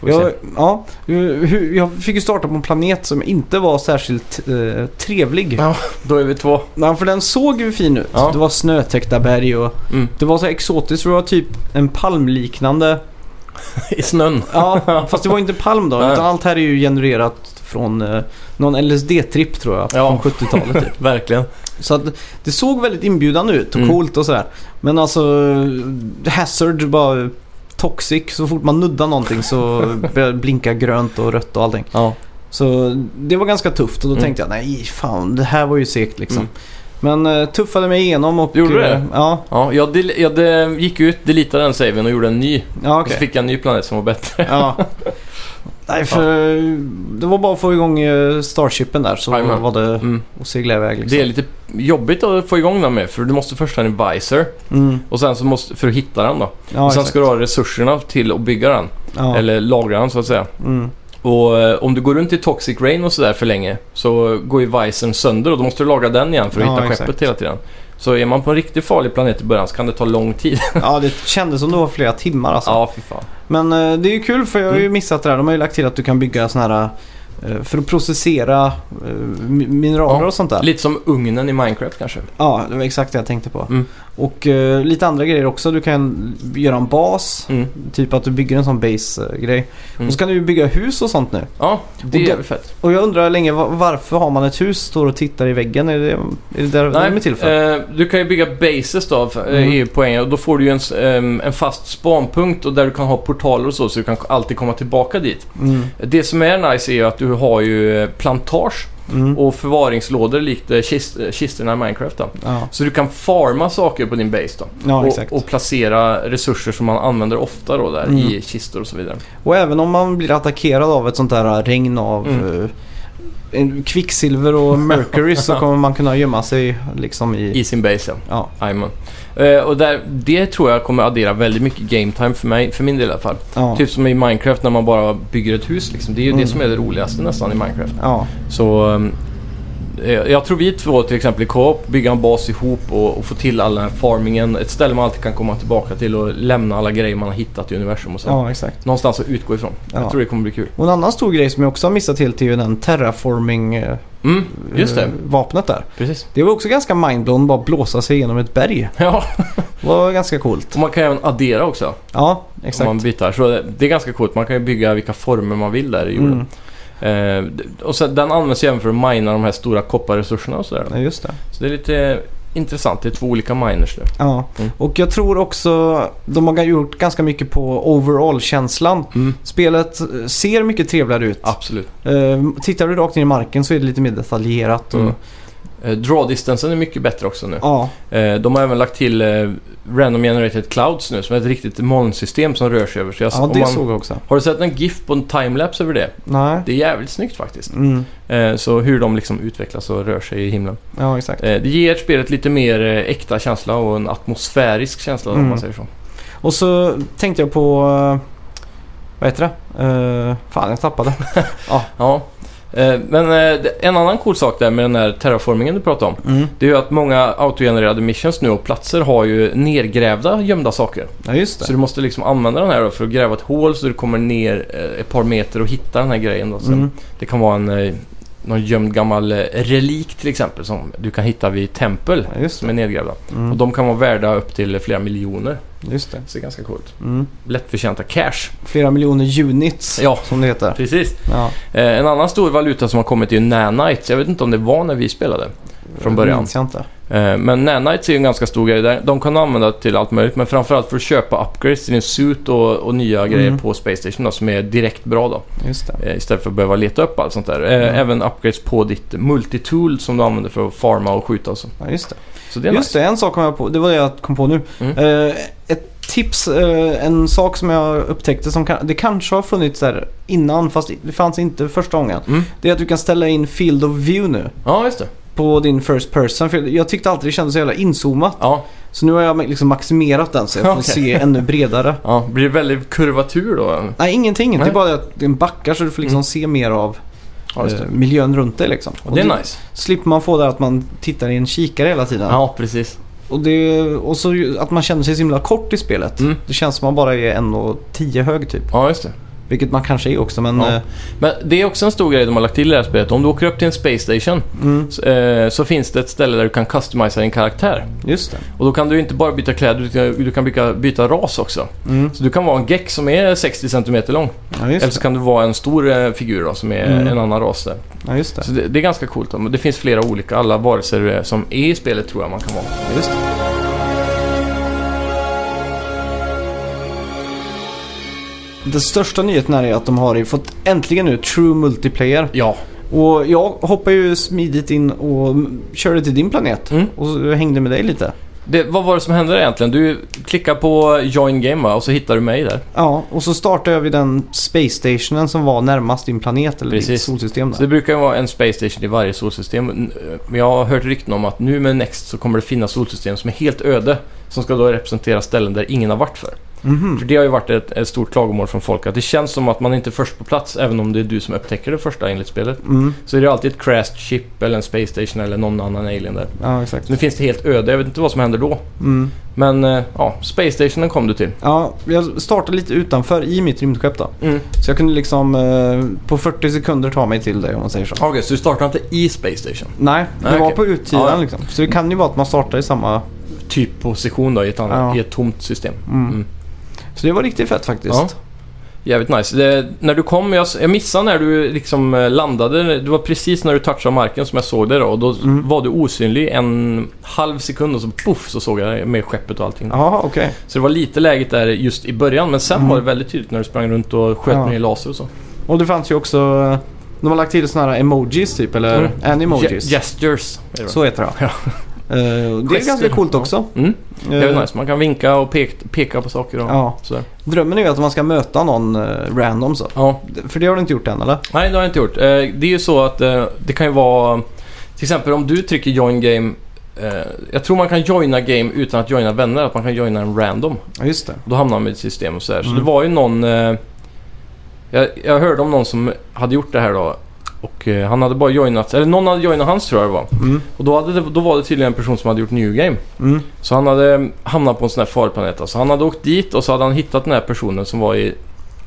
Får vi se. Jag, ja, hur- jag fick ju starta på en planet som inte var särskilt eh, trevlig. Ja. Då är vi två. Ja, för den såg ju fin ut. Ja. Det var snötäckta berg och Mm. det var så här exotiskt. för Det var typ en palmliknande. I snön. Ja, fast det var inte palm då. Nej. Utan allt här är ju genererat från eh, någon LSD-tripp tror jag. Ja. Från 70-talet. typ. Verkligen. Så att det såg väldigt inbjudande ut och Mm. coolt och sådär. Men alltså Hazard bara toxic. Så fort man nuddar någonting så börjar det blinka grönt och rött och allting. Ja. Så det var ganska tufft och då Mm. tänkte jag nej fan det här var ju segt liksom. Mm. Men eh, tuffade mig igenom och... Gjorde du det? eh, Ja, Ja, jag, del- jag de- gick ut, deletade den saven och gjorde en ny. ja Och så okej. fick jag en ny planet som var bättre. Ja. Nej för det var bara att få igång eh, Starshipen där så Jajamän. var det Mm. att segla iväg liksom. Det är lite jobbigt att få igång den med för du måste först ha en visor Mm. och sen så måste, för att hitta den då. Ja, och sen exakt. ska du ha resurserna till att bygga den. ja. Eller lagra den så att säga. Mm. Och eh, om du går runt i Toxic Rain och sådär för länge så går ju Visen sönder och då måste du laga den igen för att Ja, hitta exakt. skeppet hela tiden. Så är man på en riktigt farlig planet i början så kan det ta lång tid. ja det kändes som det var flera timmar alltså. ja, Mm. fy fan. Men eh, det är ju kul för jag har ju missat det här. De har ju lagt till att du kan bygga såna här eh, för att processera eh, mi- mineraler Ja, och sånt där. Lite som ugnen i Minecraft kanske. Ja, det var exakt det jag tänkte på. Mm. Och eh, lite andra grejer också. Du kan göra en bas. Mm. Typ att du bygger en sån base-grej. Mm. Och så kan du ju bygga hus och sånt nu. Ja, det Och är då- jävligt fett. Och jag undrar länge va- varför har man ett hus, står och tittar i väggen? Är det är det där de är till för? eh, du kan ju bygga bases då, eh, Mm. är ju poängen. Och då får du ju en, s- ehm, en fast spanpunkt och där du kan ha portaler och så, så du kan alltid komma tillbaka dit. Mm, Det som är nice är ju att du har ju eh, plantage mm, och förvaringslådor likt eh, kist, eh, kistorna i Minecraft då. ja, Så du kan farma saker på din base då. ja exakt. och, Och, och placera resurser som man använder ofta då där Mm. i kistor och så vidare. även om man blir attackerad av ett sånt där eh, regn av Mm. eh, en- kvicksilver och mercury så kommer man kunna gömma sig liksom i... I sin base ja. Ja, Jajamän. Eh, och där, det tror jag kommer addera väldigt mycket game time för mig, för min del i alla fall. ja, Typ som i Minecraft när man bara bygger ett hus liksom. Det är ju Mm. det som är det roligaste nästan i Minecraft. ja, Så ehm, eh, jag tror vi två till exempel i co-op, bygga en bas ihop och, och få till all den här farmingen. Ett ställe man alltid kan komma tillbaka till och lämna alla grejer man har hittat i universum och så. ja, exakt. Någonstans att utgå ifrån. Ja. Jag tror det kommer bli kul. Och en annan stor grej som jag också har missat helt är ju den terraforming-vapnet Mm, just Eh, det. där. Precis. Det var också ganska mindblown, bara blåsa sig genom ett berg. Ja, Det var ganska coolt. och man kan även addera också. Ja, Om exakt. man byter. Så det, det är ganska coolt. Man kan ju bygga vilka former man vill där i jorden. Mm, Eh, d- och sen, den används ju även för att mina de här stora kopparresurserna och sådär. ja, just det. Så det är lite intressant. Det är två olika miners nu. Ja. Mm. Och jag tror också de har gjort ganska mycket på overall-känslan. Spelet eh, ser mycket trevligare ut. Absolut. Eh, tittar du rakt ner i marken så är det lite mer detaljerat. Och, Mm. Eh, Draw-distansen är mycket bättre också nu. Ja, Eh, de har även lagt till eh, Random Generated Clouds nu som är ett riktigt molnsystem som rör sig över. Så ja jag, Alltså, om det man, såg jag också. Har du sett en GIF på en timelapse över det? Nej. Det är jävligt snyggt faktiskt. Mm. Eh, så hur de liksom utvecklas och rör sig i himlen. Ja, exakt. Eh, det ger spelet lite mer eh, äkta känsla och en atmosfärisk känsla om Mm. man säger så. Och så tänkte jag på... eh, Vad heter det? Eh, fan, jag tappade. Ja. Eh, Men eh, det- en annan cool sak där med den här terraformingen du pratade om. Mm. Det är ju att många autogenererade missions nu och platser har ju nergrävda gömda saker. Ja, just Så det. du måste liksom använda den här då för att gräva ett hål så du kommer ner eh, ett par meter och hitta den här grejen. Då. Så Mm. Det kan vara en eh, någon gömd gammal eh, relik till exempel som du kan hitta vid tempel Ja, just som är det. nedgrävda. Och Mm, de kan vara värda upp till flera miljoner. just det. Så det är ganska coolt. Mm. Lättförtjänta cash. Flera miljoner units, Ja. som det heter. Precis. Ja. Eh, en annan stor valuta som har kommit är ju nanites. Jag vet inte om det var när vi spelade från Det början. minns jag inte. Eh, men nanites är ju en ganska stor grej. Där. De kan du använda till allt möjligt. Men framförallt för att köpa upgrades till din suit och, och nya grejer på Space Station då, som är direkt bra då. Just det. Eh, istället för att behöva leta upp allt sånt där. Eh, Mm. Även upgrades på ditt multitool som du använder för att farma och skjuta och så. Ja, just det. Så det är Just nice. det, en sak kom jag på. Det var det jag kom på nu. Mm. Eh, ett tips, eh, en sak som jag upptäckte som kan, det kanske har funnits där innan fast det fanns inte första gången. Mm. Det är att du kan ställa in Field of View nu Ja, just det. på din First Person. För jag tyckte alltid det kändes så jävla inzoomat. Ja, Så nu har jag liksom maximerat den så jag får Okej. se ännu bredare. ja. Blir det väldigt kurvatur då? Nej, ingenting. Det Nej. är bara det att den backar så du får liksom Mm. se mer av Ja, just det. eh, miljön runt dig liksom. Och det då är nice. slipper man få det att man tittar i en kikare hela tiden. Ja, precis. Och, det, och så ju- att man känner sig så himla kort i spelet. Mm. Det känns som man bara är 1,10 hög typ. Ja, just det. Vilket man kanske är också men... Ja. eh, Men det är också en stor grej de har lagt till i det här spelet. Om du åker upp till en Space Station Mm, så, eh, så finns det ett ställe där du kan customiza din karaktär. just det. Och då kan du inte bara byta kläder, du kan- du kan byta, byta ras också. Mm, Så du kan vara en geck som är 60 cm lång. ja, just Eller så det. kan du vara en stor eh, figur då, som är Mm. en annan ras där. Ja, just det. Så det, det är ganska coolt. Då. Men Det finns flera olika, alla varelser eh, som är i spelet tror jag man kan vara. Ja, just det. Den största nyheten här är att de har ju fått äntligen nu True Multiplayer. Ja. Och jag hoppar ju smidigt in och mm, körde till din planet. Mm. Och så hängde med dig lite. Det, vad var det som hände där egentligen? Du klickar på Join Game va? och så hittar du mig där. Ja, och så startade jag vid den Space Stationen som var närmast din planet eller ditt Precis. solsystem Så det där. brukar ju vara en Space Station i varje solsystem. N- Men jag har hört rykten om att nu med Next så kommer det finnas solsystem som är helt öde. Som ska då representera ställen där ingen har varit för. Mhm. För det har ju varit ett, ett stort klagomål från folk att det känns som att man inte är först på plats även om det är du som upptäcker det första enligt spelet. Mm. Så är det alltid ett crashed chip eller en Space Station eller någon annan alien där. Ja, exakt. Så nu finns det helt öde, jag vet inte vad som händer då. Mm. Men eh, ja, Space Stationen kom du till. Ja, jag startade lite utanför i mitt rymdskepp då. Så jag kunde liksom eh, på 40 sekunder ta mig till dig om man säger så. Okej, så du startar inte i Space Station? Nej, det Nej, var okej. på utsidan Ja, ja. liksom. Så det kan ju vara att man startar i samma... Typ position då i ett, annat, Ja. i ett tomt system. Mm. Mm. Så det var riktigt fett faktiskt. Ja. Jävligt nice. Det, när du kom, jag, jag missade när du liksom eh, landade. Det var precis när du touchade marken som jag såg dig då. Och då Mm. var du osynlig en halv sekund och så poff så såg jag dig med skeppet och allting. Jaha, okej. Så det var lite läget där just i början men sen Mm. var det väldigt tydligt när du sprang runt och sköt Ja. ner laser och så. Och det fanns ju också... eh, De har lagt till såna här emojis typ, eller Mm. animojis. Ge- gestures. är det. Så heter det. Ja. Eh, och det är Gester. ganska coolt Ja. också. Mm. Det är Eh, väl nice. Man kan vinka och pek, peka på saker och Ja. sådär. Drömmen är ju att man ska möta någon eh, random så. Ja. För det har du inte gjort än eller? Nej, det har jag inte gjort. Eh, Det är ju så att eh, det kan ju vara... Till exempel om du trycker join game. eh, Jag tror man kan joina game utan att joina vänner. Att man kan joina en random. Ja, just det. Då hamnar man i ett system och sådär. Så Mm. det var ju någon... eh, Jag, jag hörde om någon som hade gjort det här då. Och eh, han hade bara joinat... Eller någon hade joinat hans tror jag det var. Mm. Och då, hade det, då var det tydligen en person som hade gjort new game. Mm. Så han hade eh, hamnat på en sån här farplanet. Alltså han hade åkt dit och så hade han hittat den här personen som var i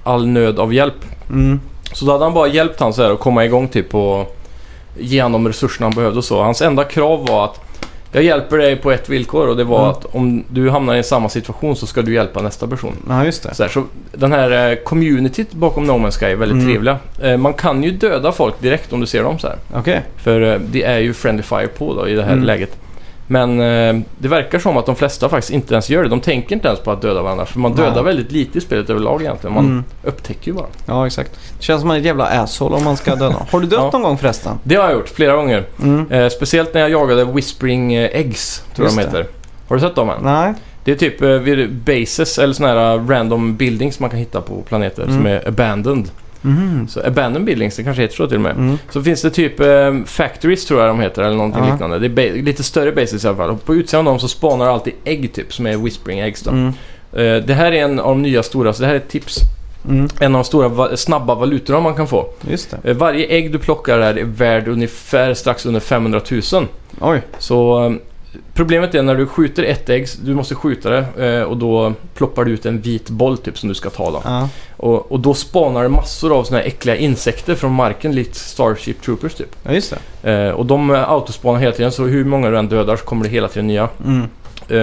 all nöd av hjälp. Mm. Så då hade han bara hjälpt han så här att komma igång typ och ge honom resurserna han behövde och så. Hans enda krav var att jag hjälper dig på ett villkor och det var Mm. att om du hamnar i samma situation så ska du hjälpa nästa person. Ja, just det. Så, här, så den här eh, communityt bakom No Man's Sky är väldigt Mm. trevliga. Eh, Man kan ju döda folk direkt om du ser dem så här. Okej. För eh, det är ju friendly fire på då i det här Mm. läget. Men eh, det verkar som att de flesta faktiskt inte ens gör det. De tänker inte ens på att döda varandra. För man Nej. dödar väldigt lite i spelet överlag egentligen. Man Mm. upptäcker ju bara. Ja, exakt. Det känns som man är ett jävla asshole om man ska döda. Har du dött Ja. någon gång förresten? Det har jag gjort flera gånger. Mm. Eh, speciellt när jag jagade Whispering eh, Eggs, tror jag Just de det. heter. Har du sett dem än? Nej. Det är typ eh, vid bases eller sådana här eh, random buildings man kan hitta på planeter som Mm. är abandoned. Mhm. Så abandoned buildings, det kanske heter så till och med. Mm. Så finns det typ eh, factories tror jag de heter eller någonting Ja. liknande. Det är ba- lite större bases i alla fall. Och på utsidan av dem så spawnar alltid ägg typ som är Whispering Eggs då. Mm. Eh, det här är en av de nya stora, så det här är ett tips. Mm. En av de stora va- snabba valutorna man kan få. Just det. Eh, varje ägg du plockar här är värd ungefär strax under 500 000. Oj. Så eh, Problemet är när du skjuter ett ägg, du måste skjuta det eh, och då ploppar du ut en vit boll typ som du ska ta då. Ja. Och, och då spanar det massor av såna här äckliga insekter från marken, likt Starship Troopers typ. ja, just det. Eh, och de eh, autospanar hela tiden, så hur många du än dödar så kommer det hela tiden nya. Mm.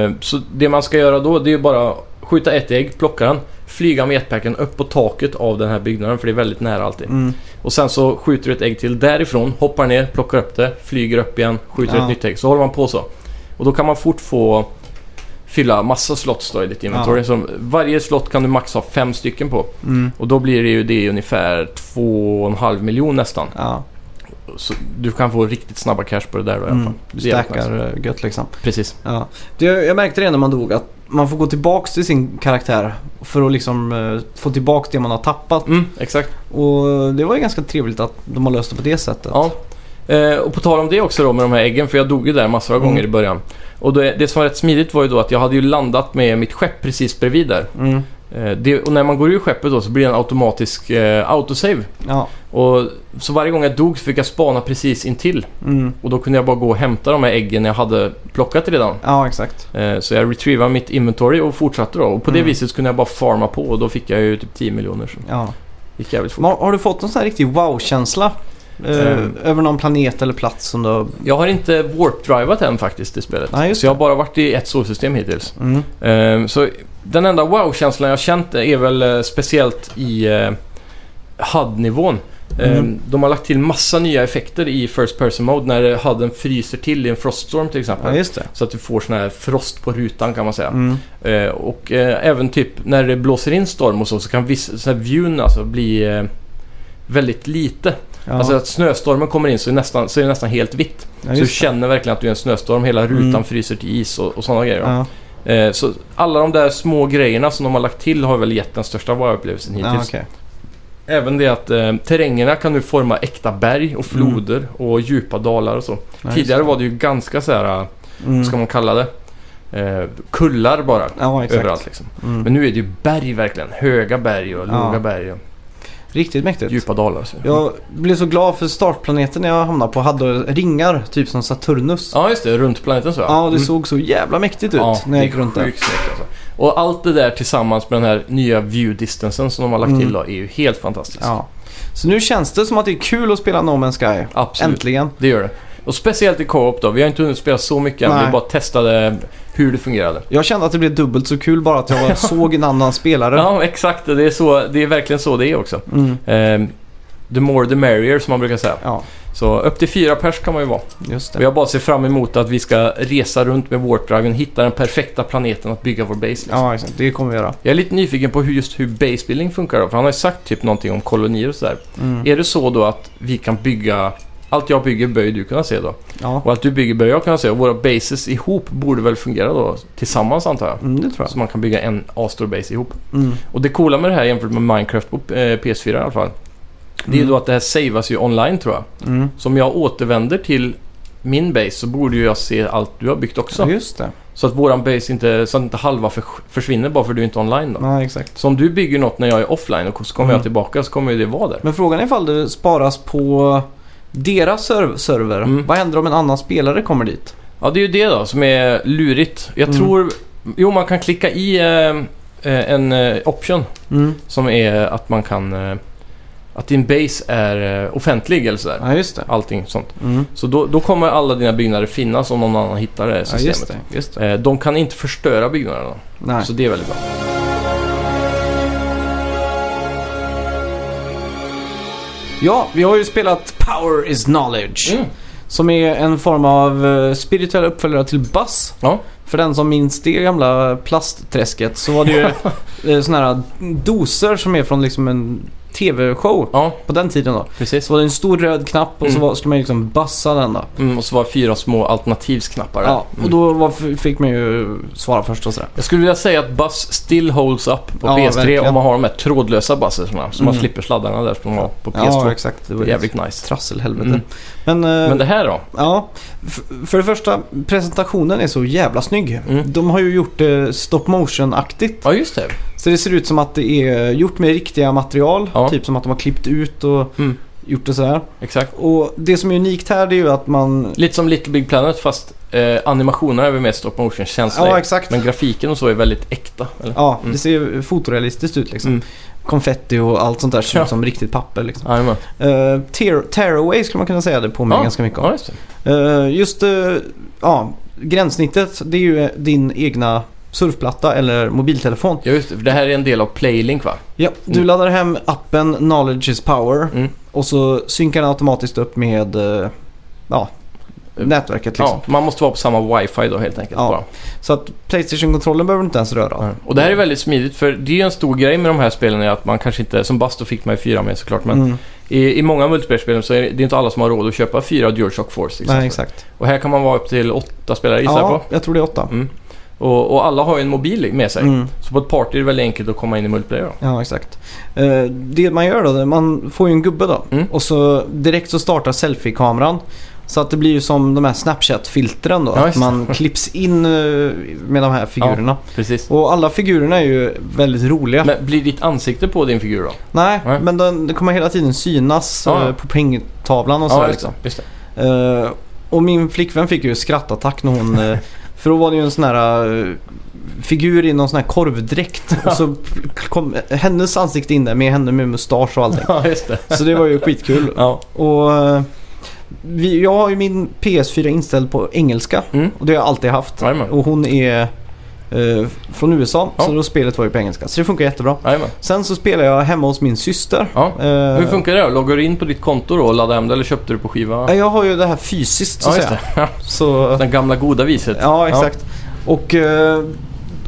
Eh, Så det man ska göra då det är ju bara skjuta ett ägg, plocka den, flyga med jetpacken upp på taket av den här byggnaden för det är väldigt nära alltid. Mm. Och sen så skjuter du ett ägg till därifrån, hoppar ner, plockar upp det, flyger upp igen, skjuter Ja. ett nytt ägg. Så håller man på så. Och då kan man fort få fylla massa slots då i ditt inventory. Ja. Så varje slott kan du max ha fem stycken på. Mm. Och då blir det ju det ungefär 2,5 miljon nästan. Ja. Så du kan få riktigt snabba cash på det där då i alla Mm. fall. Du Det är jävligt nice. stackar nice. gött liksom. Precis. Ja. Det, jag märkte det när man dog att man får gå tillbaks till sin karaktär för att liksom eh, få tillbaks det man har tappat. Mm, exakt. Och det var ju ganska trevligt att de har löst det på det sättet. Ja. Eh, och på tal om det också då med de här äggen, för jag dog ju där massor av Mm. gånger i början. Och det, det som var rätt smidigt var ju då att jag hade ju landat med mitt skepp precis bredvid där. Mm. Eh, det, och när man går ur skeppet då så blir det en automatisk eh, autosave. Ja. Och, så varje gång jag dog så fick jag spana precis intill. Mm. Och då kunde jag bara gå och hämta de här äggen jag hade plockat redan. ja, exakt. Eh, så jag retrievade mitt inventory och fortsatte då. Och på det Mm. viset så kunde jag bara farma på och då fick jag ju typ 10 miljoner. Så det Ja. gick jävligt fort. Men har- har du fått någon sån här riktig wow-känsla? Eh, Mm. Över någon planet eller plats som du har... Jag har inte warp-drivat än faktiskt i spelet. Nej, just Så jag har bara varit i ett solsystem hittills. Mm. Ehm, så den enda wow-känslan jag känt är väl eh, speciellt i eh, HUD-nivån. Ehm, Mm. De har lagt till massa nya effekter i First Person Mode när eh, HUDen fryser till i en froststorm till exempel. Ja, just det. så att du får sån här frost på rutan kan man säga. Mm. Ehm, och eh, även typ när det blåser in storm och så, så kan viss, så här vyn alltså bli eh, väldigt lite. Ja. Alltså att snöstormen kommer in så är, nästan, så är det nästan helt vitt. ja, så du just det. känner verkligen att du är en snöstorm. Hela rutan Mm. fryser till is och, och sådana grejer. va? Ja, Eh, Så alla de där små grejerna som de har lagt till har väl gett den största wow-upplevelsen hittills. ja okej. Även det att eh, terrängerna kan nu forma äkta berg och floder och djupa dalar och så. Mm. Ja, Tidigare var det ju ganska så här, eh, det. Mm. vad ska man kalla det? Eh, kullar bara. Ja, exakt. Överallt liksom. Mm. Men nu är det ju berg verkligen. Höga berg och Ja. låga berg och Riktigt mäktigt. djupa dalar. Så. Jag blev så glad för startplaneten jag hamnade på hade ringar, typ som Saturnus. Ja, just det. Runt planeten så. Ja, och det Mm. såg så jävla mäktigt ut Ja, när jag det gick är runt där. sjukt snyggt alltså. Och allt det där tillsammans med den här nya view distansen som de har lagt Mm. till då är ju helt fantastiskt. Ja. Så nu känns det som att det är kul att spela No Man's Sky. Absolut. Äntligen. Det gör det. Och speciellt i co-op då. Vi har inte hunnit spela så mycket än. Nej. Vi bara testade hur det fungerade. Jag kände att det blev dubbelt så kul bara att jag var- såg en annan spelare. Ja, exakt. Det är, så, det är verkligen så det är också. Mm. Ehm, the more the merrier som man brukar säga. ja, Så upp till fyra pers kan man ju vara. just Och det. jag bara ser fram emot att vi ska resa runt med Warpdriven hitta den perfekta planeten att bygga vår base. Liksom. Ja, exakt. Det kommer vi göra. Jag är lite nyfiken på hur, just hur basebuilding funkar då. För han har ju sagt typ någonting om kolonier och sådär. Mm. Är det så då att vi kan bygga... Allt jag bygger bör ju du kunna se då. Ja, Och allt du bygger bör jag kunna se. Och våra bases ihop borde väl fungera då tillsammans antar jag. mm, det tror Så man kan bygga en astor base ihop. jag. Mm. Och det coola med det här jämfört med Minecraft på eh, PS4 i alla fall. Det är Mm. då att det här savas ju online tror jag. Mm. Så om jag återvänder till min base så borde ju jag se allt du har byggt också. Ja, just det. Så att våran base inte, så att inte halva förs- försvinner bara för du är inte online då. Ja, exakt. Så om du bygger något när jag är offline och så kommer Mm. jag tillbaka så kommer ju det vara där. Men frågan är ifall det sparas på deras serv- server. Mm. Vad händer om en annan spelare kommer dit? Ja, det är ju det då som är lurigt. Jag Mm. tror... Jo, man kan klicka i eh, eh, en eh, option Mm. som är att man kan... Eh, att din base är eh, offentlig eller sådär. Ja, just det. Allting sånt. Mm. Så då, då kommer alla dina byggnader finnas om någon annan hittar det här Ja, just systemet. det. Just det. Eh, De kan inte förstöra byggnaderna. Nej. Så det är väldigt bra. Ja, vi har ju spelat Power is Knowledge. Som är en form av eh, spirituell uppföljare till Buzz. Ja. För den som minns det gamla plastträsket så var det ju eh, såna här doser som är från liksom en TV-show Ja, på den tiden då. precis. Så var det en stor röd knapp och så Mm. var, skulle man ju liksom bassa den då. Mm, och så var det fyra små alternativsknappar där. Mm. Ja, och då var, fick man ju svara först och sådär. Jag skulle vilja säga att Buzz still holds up på Ja, PS3 verkligen. om man har de här trådlösa buzzerserna. Så man Mm. slipper sladdarna där som man har på PS2. Ja, exakt. Det det var är ju jävligt nice. trasselhelvete. Mm. Men, eh, Men det här då? ja, f- för det första, presentationen är så jävla snygg. Mm. De har ju gjort det stop motion-aktigt. Ja, just det. Så det ser ut som att det är gjort med riktiga material. Ja. Typ som att de har klippt ut och Mm. gjort det så här. Exakt. Och det som är unikt här det är ju att man... Lite som Little Big Planet fast eh, animationerna är väl mer stop motion-känsla. Ja, i. exakt. men grafiken och så är väldigt äkta. Eller? Ja, Mm. det ser ju fotorealistiskt ut liksom. Mm. Konfetti och allt sånt där ser ut Ja. som riktigt papper liksom. Jajamän. Eh, tear, tearaway skulle man kunna säga det påminner Ja. ganska mycket om. Ja, just det. Eh, just eh, ja, gränssnittet det är ju eh, din egna surfplatta eller mobiltelefon. Ja, just det. För det här är en del av Playlink va? Ja, du Mm. laddar hem appen Knowledge is power Mm. och så synkar den automatiskt upp med eh, ja, Eh, nätverket. Liksom. Ja, man måste vara på samma wifi då helt enkelt. Ja. Bara. Så att Playstation-kontrollen behöver du inte ens röra. Ja. Och det här är väldigt smidigt för det är ju en stor grej med de här spelen är att man kanske inte, som Basto fick mig fyra med såklart, men Mm. i, i många multiplayer-spel så är det, det är inte alla som har råd att köpa fyra DualShock Force till Nej, exempel. exakt. Och här kan man vara upp till åtta spelare gissar jag Ja, på. jag tror det är åtta. Mm. Och, och alla har ju en mobil med sig. Mm. Så på ett party är det väldigt enkelt att komma in i multiplayer då. Ja, exakt. Eh, det man gör då, det- man får ju en gubbe då. Mm. Och så direkt så startar selfie-kameran. Så att det blir ju som de här Snapchat-filtren då. Ja, att just det. man klipps in eh, med de här figurerna. Precis. Och alla figurerna är ju väldigt roliga. Men blir ditt ansikte på din figur då? Nej, Nej. men den, den kommer hela tiden synas Ja. eh, på pengtavlan och sådär. just liksom. det, just det. Eh, och min flickvän fick ju skrattattack när hon... eh, för då var det ju en sån här eh, figur i någon sån här korvdräkt. och så kom hennes ansikte in där med henne med mustasch och allting. Ja, just det. Så det var ju skitkul. Ja. Och eh, vi, jag har ju min PS4 inställd på engelska. Mm. Och det har jag alltid haft. Jajamän. Och hon är eh, från USA. Ja. Så då spelet var ju på engelska. Så det funkar jättebra. Jajamän. Sen så spelar jag hemma hos min syster. Ja. Eh, Hur funkar det då? Loggar du in på ditt konto då och laddar hem det eller köpte du på skiva? ja, Jag har ju det här fysiskt så ja, att just säga. det. Ja. Så, Den gamla goda viset. ja, exakt. Och eh,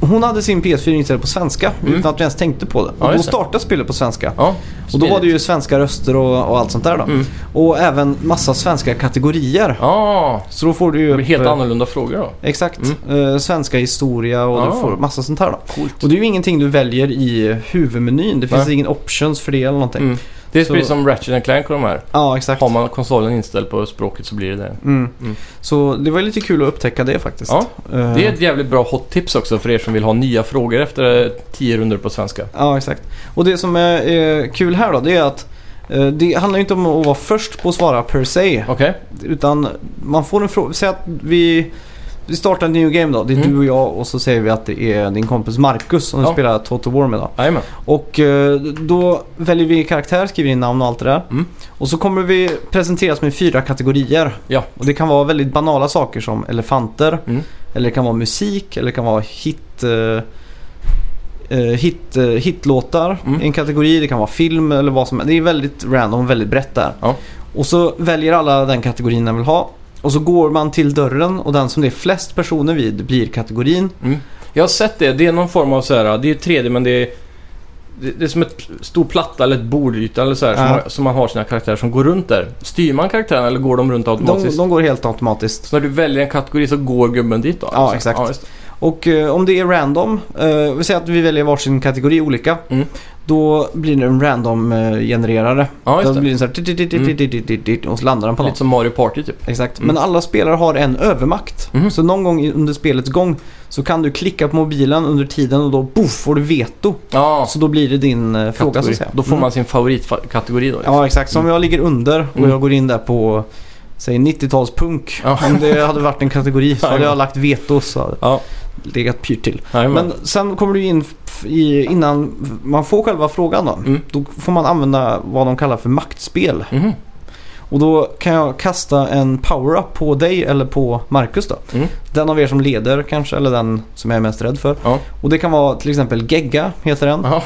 hon hade sin PS4 inställd på svenska Mm. utan att vi ens tänkte på det. Ja, Och då just det. startade spelet på svenska. Ja. Och då var det Smidigt. ju svenska röster och, och allt sånt där då. Mm. Och även massa svenska kategorier. Ja, Så då får du ju det blir helt upp, eh, annorlunda frågor då. Exakt. Eh, svenska historia och Ah. du får massa sånt här då. Coolt. Och det är ju ingenting du väljer i huvudmenyn. Det finns Nej. ingen options för det eller någonting. Mm. Det är Så- precis som Ratchet and Clank och de här. Ja, exakt. Har man konsolen inställd på språket så blir det det. Mm. Mm. Så det var ju lite kul att upptäcka det faktiskt. Ja, Eh, Det är ett jävligt bra hot tips också för er som vill ha nya frågor efter eh, 10 runder på svenska. Ja, exakt. Och det som är, är kul här då, det är att eh, det handlar ju inte om att vara först på att svara per se. Okej? Utan man får en fråga. Säg att vi, vi startar en new game då. Det är Mm. du och jag och så säger vi att det är din kompis Marcus som du Ja. spelar Total War med då. Jajamän. Och eh, då väljer vi karaktär, skriver in namn och allt det där. Mm. Och så kommer vi presenteras med fyra kategorier. Ja. Och det kan vara väldigt banala saker som elefanter. Mm. Eller det kan vara musik. Eller det kan vara hit... eh, eh, hit, eh, hitlåtar Mm. i en kategori. Det kan vara film eller vad som helst. Det är väldigt random, väldigt brett där. Ja. Och så väljer alla den kategorin den vill ha. Och så går man till dörren och den som det är flest personer vid blir kategorin. Mm. Jag har sett det. Det är någon form av så här, det är 3D men det är, det, det är som ett stor platta eller ett bordyta eller så här, som, Ja. har, som man har sina karaktärer som går runt där. Styr man karaktären eller går de runt De, automatiskt? de går helt automatiskt. Så när du väljer en kategori så går gubben dit då? Ja, Alltså, exakt. just det. Och eh, om det är random, eh, vi säger att vi väljer varsin kategori olika. Mm. Då blir det en random eh, genererare. ja, just då det. Mm. blir det så här tit, tit, tit, tit, tit, tit, tit, tit, och så landar den på Lite något. som Mario Party typ. Exakt. Mm. Men alla spelare har en övermakt. Mhm. Så någon gång i- under spelets gång så kan du klicka på mobilen under tiden och då boff får du veto. Ja, Så då blir det din eh, fråga så kategori. att säga. Då får man sin favoritkategori då. liksom. Mm. Ja exakt. Så om jag ligger under och Mm. jag går in där på säg 90-talspunk. Ja. Om det hade varit en kategori så hade Ja, ja. jag lagt veto så hade Ja. det legat pyrt till. Nej, men, Men sen kommer du in f- i, innan man får själva frågan då. Mm. Då får man använda vad de kallar för maktspel. Mhm. Och då kan jag kasta en power-up på dig eller på Marcus då. Mm. Den av er som leder kanske, eller den som jag är mest rädd för. Ja. Och det kan vara till exempel gegga, heter den. Ja.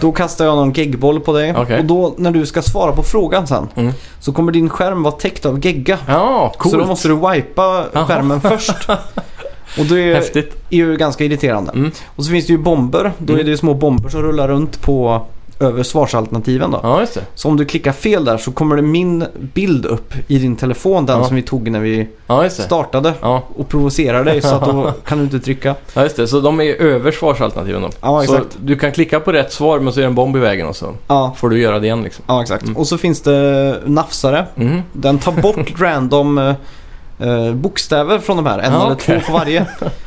Då kastar jag någon geggboll på dig. Okej. Och då när du ska svara på frågan sen Mm. så kommer din skärm vara täckt av gegga. ja, coolt. Så då måste du wipa Jaha. skärmen först. Och det är, Häftigt. är ju ganska irriterande. Mm. Och så finns det ju bomber. Då Mm. är det ju små bomber som rullar runt på över svarsalternativen då. Ja, just det. Så om du klickar fel där så kommer det min bild upp i din telefon, den Ja. som vi tog när vi Ja, just det. startade. Ja. Och provocerar dig så att då kan du inte trycka. ja, just det. Så de är över svarsalternativen då. Ja, Så exakt. du kan klicka på rätt svar men så är det en bomb i vägen och så Ja, får du göra det igen liksom. ja exakt. Mm. Och så finns det nafsare. Mhm. Den tar bort random eh, eh, bokstäver från de här. En Ja, eller okej. två på varje.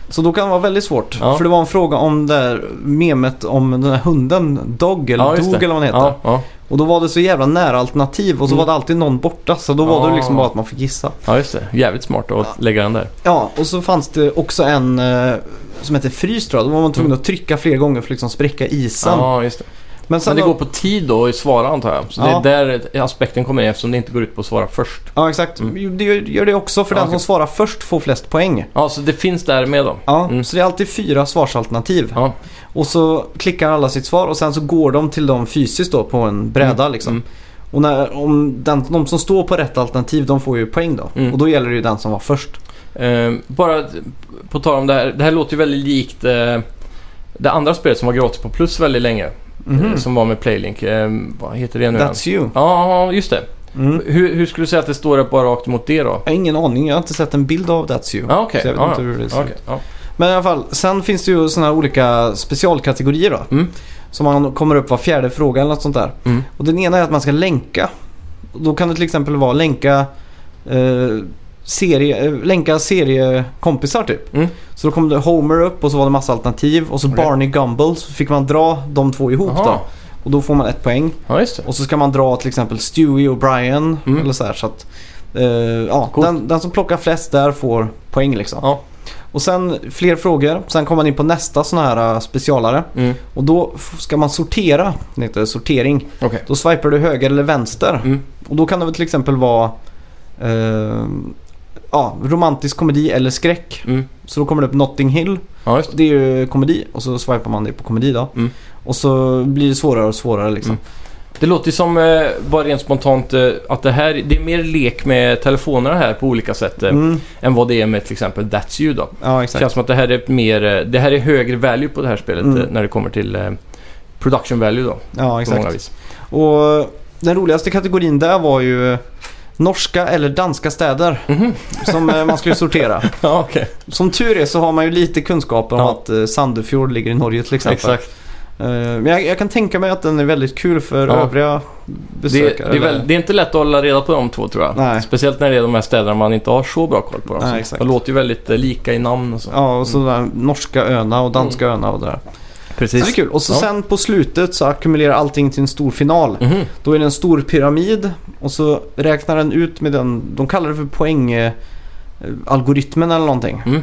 Så då kan det vara väldigt svårt. Ja. För det var en fråga om det där memet om den här hunden, Dog eller Ja, just Dog det. eller vad han heter. Ja, ja. Och då var det så jävla nära alternativ och så Mm. var det alltid någon borta. Så då var Ah. det liksom bara att man fick gissa. Ja, just det. Jävligt smart att lägga den där. Ja, och så fanns det också en eh, som hette frys tror jag. Då var man tvungen att trycka fler gånger för att liksom spräcka isen. Mm. Ja, just det. Men sen Men det då- går på tid då att svara antar jag. Så Ja. det är där aspekten kommer in eftersom det inte går ut på att svara först. Ja, exakt. Det gör- gör det också för Mm. Ja, den okej. som svarar först får flest poäng. Ja, så det finns där med då. Ja, Mm. så det är alltid fyra svarsalternativ. Ja. Och så klickar alla sitt svar och sen så går de till dem fysiskt då på en bräda liksom. Mm. Och när, om den, de som står på rätt alternativ de får ju poäng då. Mm. Och då gäller det ju den som var först. Ehm, bara t- på tal om det här. Det här låter ju väldigt likt eh, det andra spelet som var gratis på Plus väldigt länge. eh, Som var med Playlink. Ehm, vad heter det nu igen? Mm-hmm. That's you. Ja, just det. Mm. Hur, hur skulle du säga att det står upp bara rakt emot det då? Jag har ingen aning, jag har inte sett en bild av That's you. Ja, Ah, okej. Så jag vet Ja, inte hur det ser ja, ut. okej, ja. Men i alla fall, sen finns det ju sådana här olika specialkategorier då. Mm. Som man kommer upp var fjärde fråga eller något sånt där. Mm. Och den ena är att man ska länka. Och Då kan det till exempel vara länka, eh, serie, eh, länka seriekompisar typ. Mm. Så då kom det Homer upp och så var det massa alternativ. Och så Okej. Barney Gumble så fick man dra de två ihop då. Aha. Och då får man ett poäng. Ja, just det. Och så ska man dra till exempel Stewie och Brian. Mm. Eller så här, så att, eh, ja, Coolt. den, den som plockar flest där får poäng liksom. Ja. Och sen fler frågor. Sen kommer man in på nästa sån här eh, specialare. Mm. Och då f- ska man sortera. Det heter sortering. Okej. Då swipar du höger eller vänster. Mm. Och då kan det väl till exempel vara eh, ja, romantisk komedi eller skräck. Mm. Så då kommer det upp Notting Hill. Ja, just det. Det är ju komedi och så swipar man det på komedi då. Mm. Och så blir det svårare och svårare liksom. Mm. Det låter ju som, eh, bara rent spontant, eh, att det här det är mer lek med telefonerna här på olika sätt eh, Mm. än vad det är med till exempel That's You då. Ja, Det exakt. känns som att det här är mer, eh, det här är högre value på det här spelet Mm. eh, när det kommer till eh, production value då. Ja, På många exakt. vis. Och den roligaste kategorin där var ju norska eller danska städer Mhm. som eh, man skulle sortera. Ja, okej. Som tur är så har man ju lite kunskap om Ja. att eh, Sandefjord ligger i Norge till exempel. Exakt. Eh, Men jag, jag kan tänka mig att den är väldigt kul för Ja. övriga Det, det, besökare. är eller- väl, det är inte lätt att hålla reda på de två tror jag. Nej. Speciellt när det är de här städerna man inte har så bra koll på. Dem, Nej, Så exakt. De låter ju väldigt eh, lika i namn och så. Ja, och så där norska öarna och danska öarna och det där. Så Mm. Precis. det är kul. Och så Ja. sen på slutet så ackumulerar allting till en stor final. Mhm. Då är det en stor pyramid och så räknar den ut med den, de kallar det för poängalgoritmen eller någonting. Mm.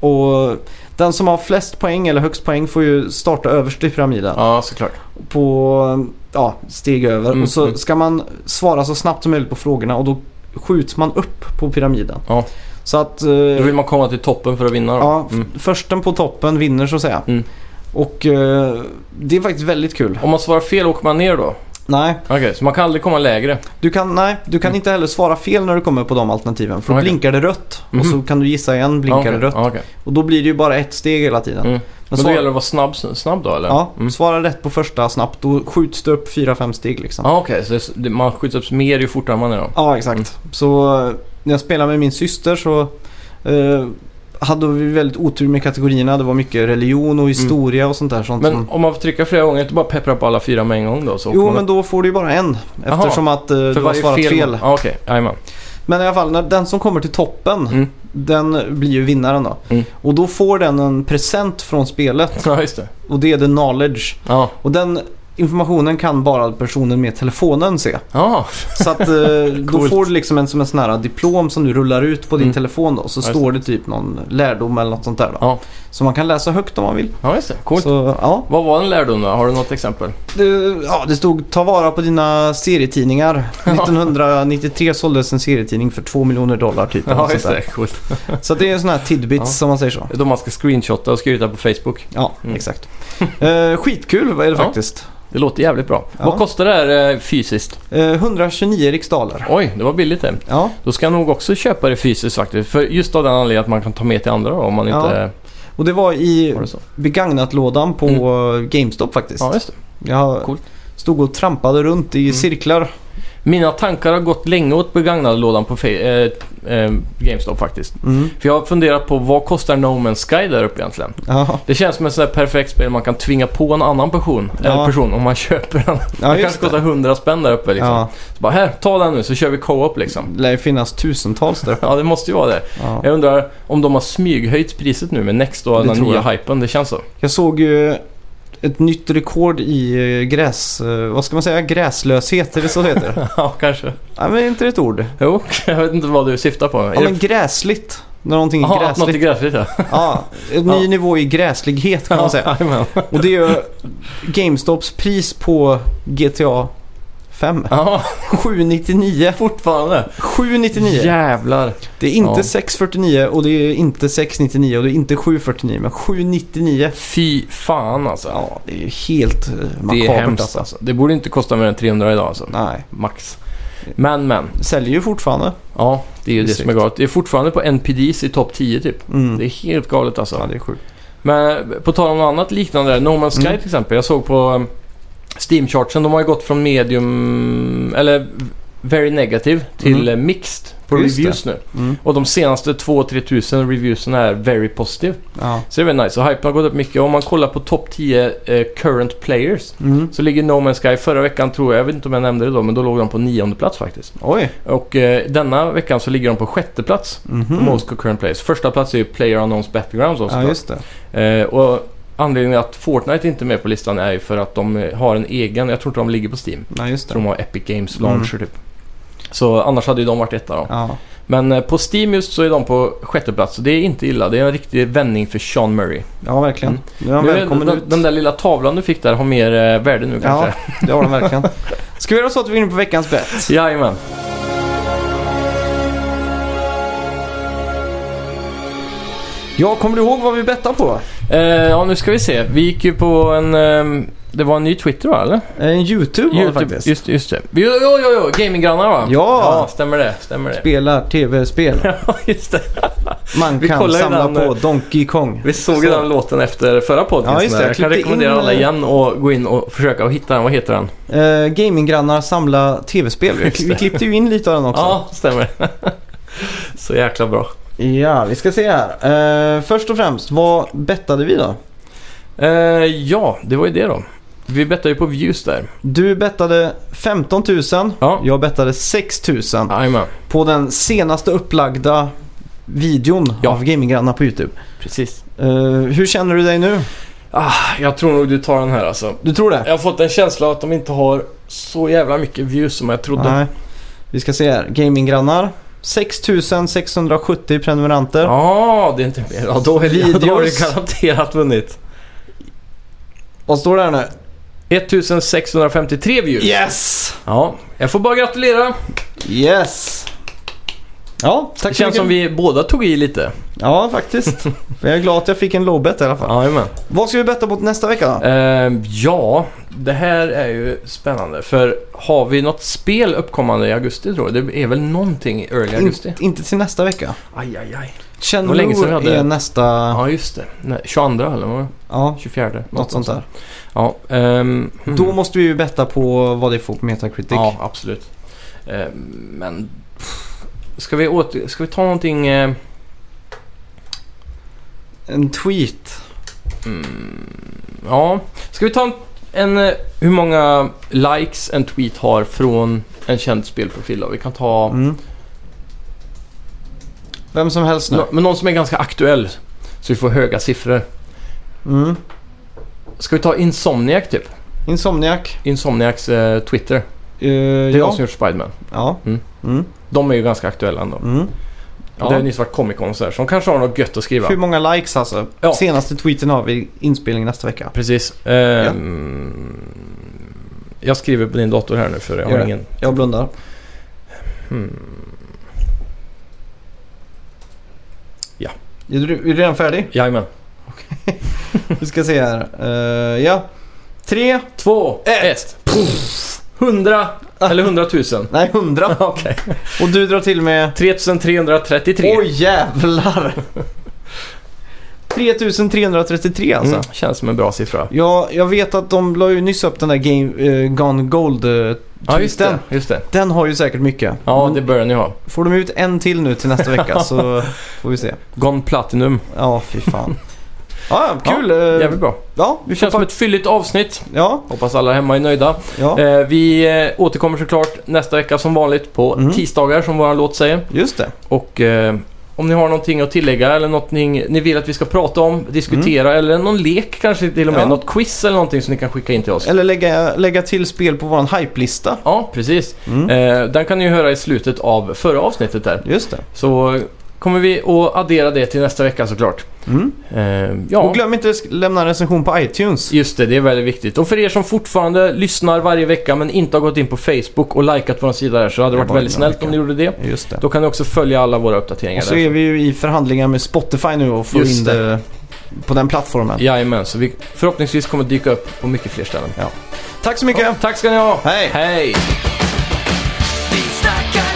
Och den som har flest poäng eller högst poäng får ju starta överst i pyramiden. Ja, såklart. På ja, steg över. Mm, och så mm. ska man svara så snabbt som möjligt på frågorna och då skjuts man upp på pyramiden. Ja. Så att... eh, Då vill man komma till toppen för att vinna då. Ja, f- Mm. försten på toppen vinner så att säga. Mm. Och eh, det är faktiskt väldigt kul. Om man svarar fel åker man ner då? Nej, Okej, så man kan aldrig komma lägre? du kan, nej, du kan inte heller svara fel när du kommer på de alternativen. För då Mm. Okej. blinkar det rött och så Mhm. kan du gissa igen, blinkar Ja, det okej. rött. Ja, okej. Och då blir det ju bara ett steg hela tiden. Mm. Men då svara- gäller det att vara snabb, snabb då eller? Ja, Mm. svara rätt på första snabbt. Då skjuts det upp fyra fem steg liksom. Ja, okej. Så det, man skjuts upp mer ju fortare man är då? Ja, exakt. Mm. Så eh, när jag spelade med min syster så eh, hade vi väldigt otur med kategorierna. Det var mycket religion och historia och sånt där. Sånt som... Mm. Men om man får trycka flera gånger, inte bara peppra upp alla fyra med en gång då? Så åker Jo, man men upp då får du ju bara en. Jaha. Eftersom att eh, du har svarat fel. Ja, okej. Jajamän. Men i alla fall, när den som kommer till toppen, Mm. den blir ju vinnaren då. Mm. Och då får den en present från spelet Ja, just det. och det är the knowledge. Ja. Och den informationen kan bara personen med telefonen se. Ja, Så att eh, då Coolt. får du liksom en, som en sån här diplom som du rullar ut på din Mm. telefon då. Så Ja, just står det typ någon lärdom eller något sånt där då. Ja. Så man kan läsa högt om man vill. ja just det. Coolt. Så, ja. Vad var en lärdom då? Har du något exempel? Det, ja, det stod ta vara på dina serietidningar. 1993 såldes en serietidning för 2 miljoner dollar typ. eller något sånt där. Coolt. Så att det är en sån här tidbits Ja. som man säger så. Det är Då man ska screenshotta och skriva på Facebook. Ja, Mm. exakt. Eh, skitkul vad är det Ja. faktiskt. Det låter jävligt bra. Ja. Vad kostar det här eh, fysiskt? Eh, 129 riksdaler. Oj, det var billigt det. Ja. Då ska jag nog också köpa det fysiskt faktiskt. För just av den anledningen att man kan ta med till andra då, om man Ja. inte Och det var i har det så. Mm. begagnat-lådan på eh, GameStop faktiskt. Ja, just det. Jag Coolt. Mm. stod och trampade runt i cirklar. Mina tankar har gått länge åt begagnade-lådan på fe- eh, eh, GameStop faktiskt. Mm. För jag har funderat på vad kostar No Man's Sky där uppe egentligen? Ja, Det känns som ett sånt här perfekt spel man kan tvinga på en annan person, eller Ja. person om man köper den. ja det just kanske det. kostar 100 spänn där uppe liksom. Ja, Så bara här, ta den nu så kör vi co-op liksom. lär ju finnas tusentals där. Ja, det måste ju vara det. Ja. Jag undrar om de har smyghöjt priset nu med Next och Det den tror nya jag. hypen. Det känns så. Jag såg ju ett nytt rekord i eh, gräs... eh, Vad ska man säga? Gräslöshet, är det så det heter? ja, kanske. Nej, men är inte det ett ord? Jo, jag vet inte vad du syftar på. Ja, men gräsligt. När någonting är Jaha, något är gräsligt. gräsligt ja. Ja, en ny nivå i gräslighet kan man säga. Jajamän. Och det är ju GameStops pris på GTA 5. Ja, 799. fortfarande. 799. Jävlar. Det är inte Ja. 649 och det är inte 699 och det är inte 749 men 799. Fy fan alltså. Ja, det är ju helt eh, det makabert är hemskt alltså. alltså. Det borde inte kosta mer än 300 idag alltså. Nej, Max. Men, men. säljer ju fortfarande. Ja, det är ju det Precis. som är galet. Det är fortfarande på NPDs i topp 10 typ. Mm. Det är helt galet alltså. Ja, det är sjukt. Men på tal om något annat liknande där. No Man's Sky Mm. till exempel. Jag såg på um, Steam-chartsen. De har ju gått från medium... Eller very negative Mm. till eh, mixed på Just det. reviews nu. Mm. Och de senaste 2-3 tusen reviewsen är very positive. Ja. Så det är väldigt nice. Och hypen har gått upp mycket. Om man kollar på topp 10 eh, current players. Mm. Så ligger No Man's Sky förra veckan tror jag. Jag vet inte om jag nämnde det då. Men då låg de på nionde plats faktiskt. Oj. Och eh, denna veckan så ligger de på sjätte plats. Mhm. På Most current players. Första plats är ju Player Unknowns Battlegrounds också. Ja, just det. Eh, och anledningen att Fortnite inte är med på listan är ju för att de eh, har en egen, jag tror inte de ligger på Steam. Ja, just Jag tror det. de har Epic Games Launcher typ. Så annars hade ju de varit etta då. Mm. Ja. Men eh, på Steam just så är de på sjätte plats så det är inte illa. Det är en riktig vändning för Sean Murray. ja, verkligen. Mm. Nu är han Nu är välkommen den, ut. den där lilla tavlan du fick där har mer eh, värde nu ja, kanske. det har den verkligen. Ska vi göra så att vi är inne på veckans bett? Jajamän. Ja, kommer du ihåg vad vi bettade på? Eh, ja, nu ska vi se. Vi gick ju på en... ehm, det var en ny Twitter va, eller? Eh, En YouTube var det YouTube- faktiskt. Just, just det. Jo, jo, jo, jo. Gaminggrannar va? Ja. ja! Stämmer det, stämmer det. Spelar tv-spel. Ja, just det. Man Vi kan kollar ju samla den, eh, på Donkey Kong. Vi såg ju Så. den låten efter förra podden. Ja, just det. Jag, Jag kan klippte rekommendera in, alla eh, igen och gå in och försöka och hitta den. Vad heter den? Eh, gaminggrannar samla tv-spel. Vi, Just det. vi klippte ju in lite av den också. Ja, stämmer. Så jäkla bra. Ja, vi ska se här. Eh, först och främst, vad bettade vi då? Eh, ja, det var ju det då. Vi bettade ju på views där. Du bettade 15 000. Ja. Jag bettade 6 000 Jajamän, på den senaste upplagda videon Ja. av gaminggrannar på YouTube. precis. Eh, hur känner du dig nu? Ah, jag tror nog du tar den här alltså. Du tror det? Jag har fått en känsla av att de inte har så jävla mycket views som jag trodde. Nej. Vi ska se här. Gaminggrannar. 6 670 prenumeranter. Ja, det är inte mer. Ja, då, är det, då har du Videos. garanterat vunnit. Vad står det här nu? 1653 views. Yes! Ja, jag får bara gratulera. Yes! Ja, Det tack så känns mycket. som vi båda tog i lite. Ja, faktiskt. Jag är glad att jag fick en low bet i alla fall. Jajamän. Vad ska vi betta på nästa vecka då? Eh, ja, det här är ju spännande. För har vi något spel uppkommande i augusti tror jag? Det är väl någonting i early augusti? In, inte till nästa vecka. Aj, aj, aj. Det var länge sedan Chenmure vi hade- är nästa... Ja, Ja, just det. Nej, 22 eller vad var det? 24? något sånt där. Ja, ehm, hmm. Då måste vi ju betta på vad det får på Metacritic. ja absolut. Ehm, men... Pff, ska, vi åter... ska vi ta någonting... eh, En tweet. mm, Ja, ska vi ta en, en... eh, Hur många likes en tweet har från en känd spelprofil då? Vi kan ta... Mm. Vem som helst nu. Nå- men någon som är ganska aktuell. Så vi får höga siffror. Mm. Ska vi ta Insomniac typ? Insomniac. Insomniacs eh, Twitter. Eh, Det är de ja. som gjort Spiderman. Ja. Mm. Mm. De är ju ganska aktuella ändå. Mm. Och Det har ju nyss varit Comic Con och sådär, så de kanske har något gött att skriva. Hur många likes alltså? Ja. Senaste tweeten har vi inspelning nästa vecka. Precis. Ehm, Jag skriver på din dator här nu för jag har Gör det. ingen... Jag blundar. Hmm. Är du, är du redan färdig? Jajamän. Vi ska se här. Eh, ja. Tre. Två, ett, hundra, eller hundratusen. Nej, hundra. Okej. Och du drar till med... 3333. Oj jävlar! 3333 alltså. Mm, känns som en bra siffra. Ja, jag vet att de la ju nyss upp den där game, eh, Gone Gold uh, Ja, just det. Just det. Den har ju säkert mycket. Ja, Men det bör den ju ha. Får de ut en till nu till nästa vecka så får vi se. Gone Platinum. Ja, fy fan. Ja, ja, kul. eh, Ja, Ja, jävligt bra. ja Eh, vi Det får känns pa- som ett fylligt avsnitt. Ja, Hoppas alla hemma är nöjda. ja, Eh, vi eh, återkommer såklart nästa vecka som vanligt på Mm. tisdagar som vår låt säger. just det. Och eh, Om ni har någonting att tillägga eller någonting ni vill att vi ska prata om, diskutera eller någon lek kanske till och med. Mm. Ja. Något quiz eller någonting som ni kan skicka in till oss. Eller lägga, lägga till spel på vår hype-lista. Ja, precis. Mm. Eh, den kan ni ju höra i slutet av förra avsnittet där. Just det. Så kommer vi att addera det till nästa vecka såklart. Mm. Eh, ja. Och glöm inte att sk- lämna en recension på iTunes. Just det, det är väldigt viktigt. Och för er som fortfarande lyssnar varje vecka men inte har gått in på Facebook och likat vår sida där så hade det Det varit var väldigt en bra snällt vecka. om ni gjorde det. Just det. Då kan ni också följa alla våra uppdateringar Och så där. är vi ju i förhandlingar med Spotify nu och får Just in det. det på den plattformen. Jajamän, så vi förhoppningsvis kommer dyka upp på mycket fler ställen. Tack så mycket! Tack ska ni ha! Hej. Hej. Vi snackar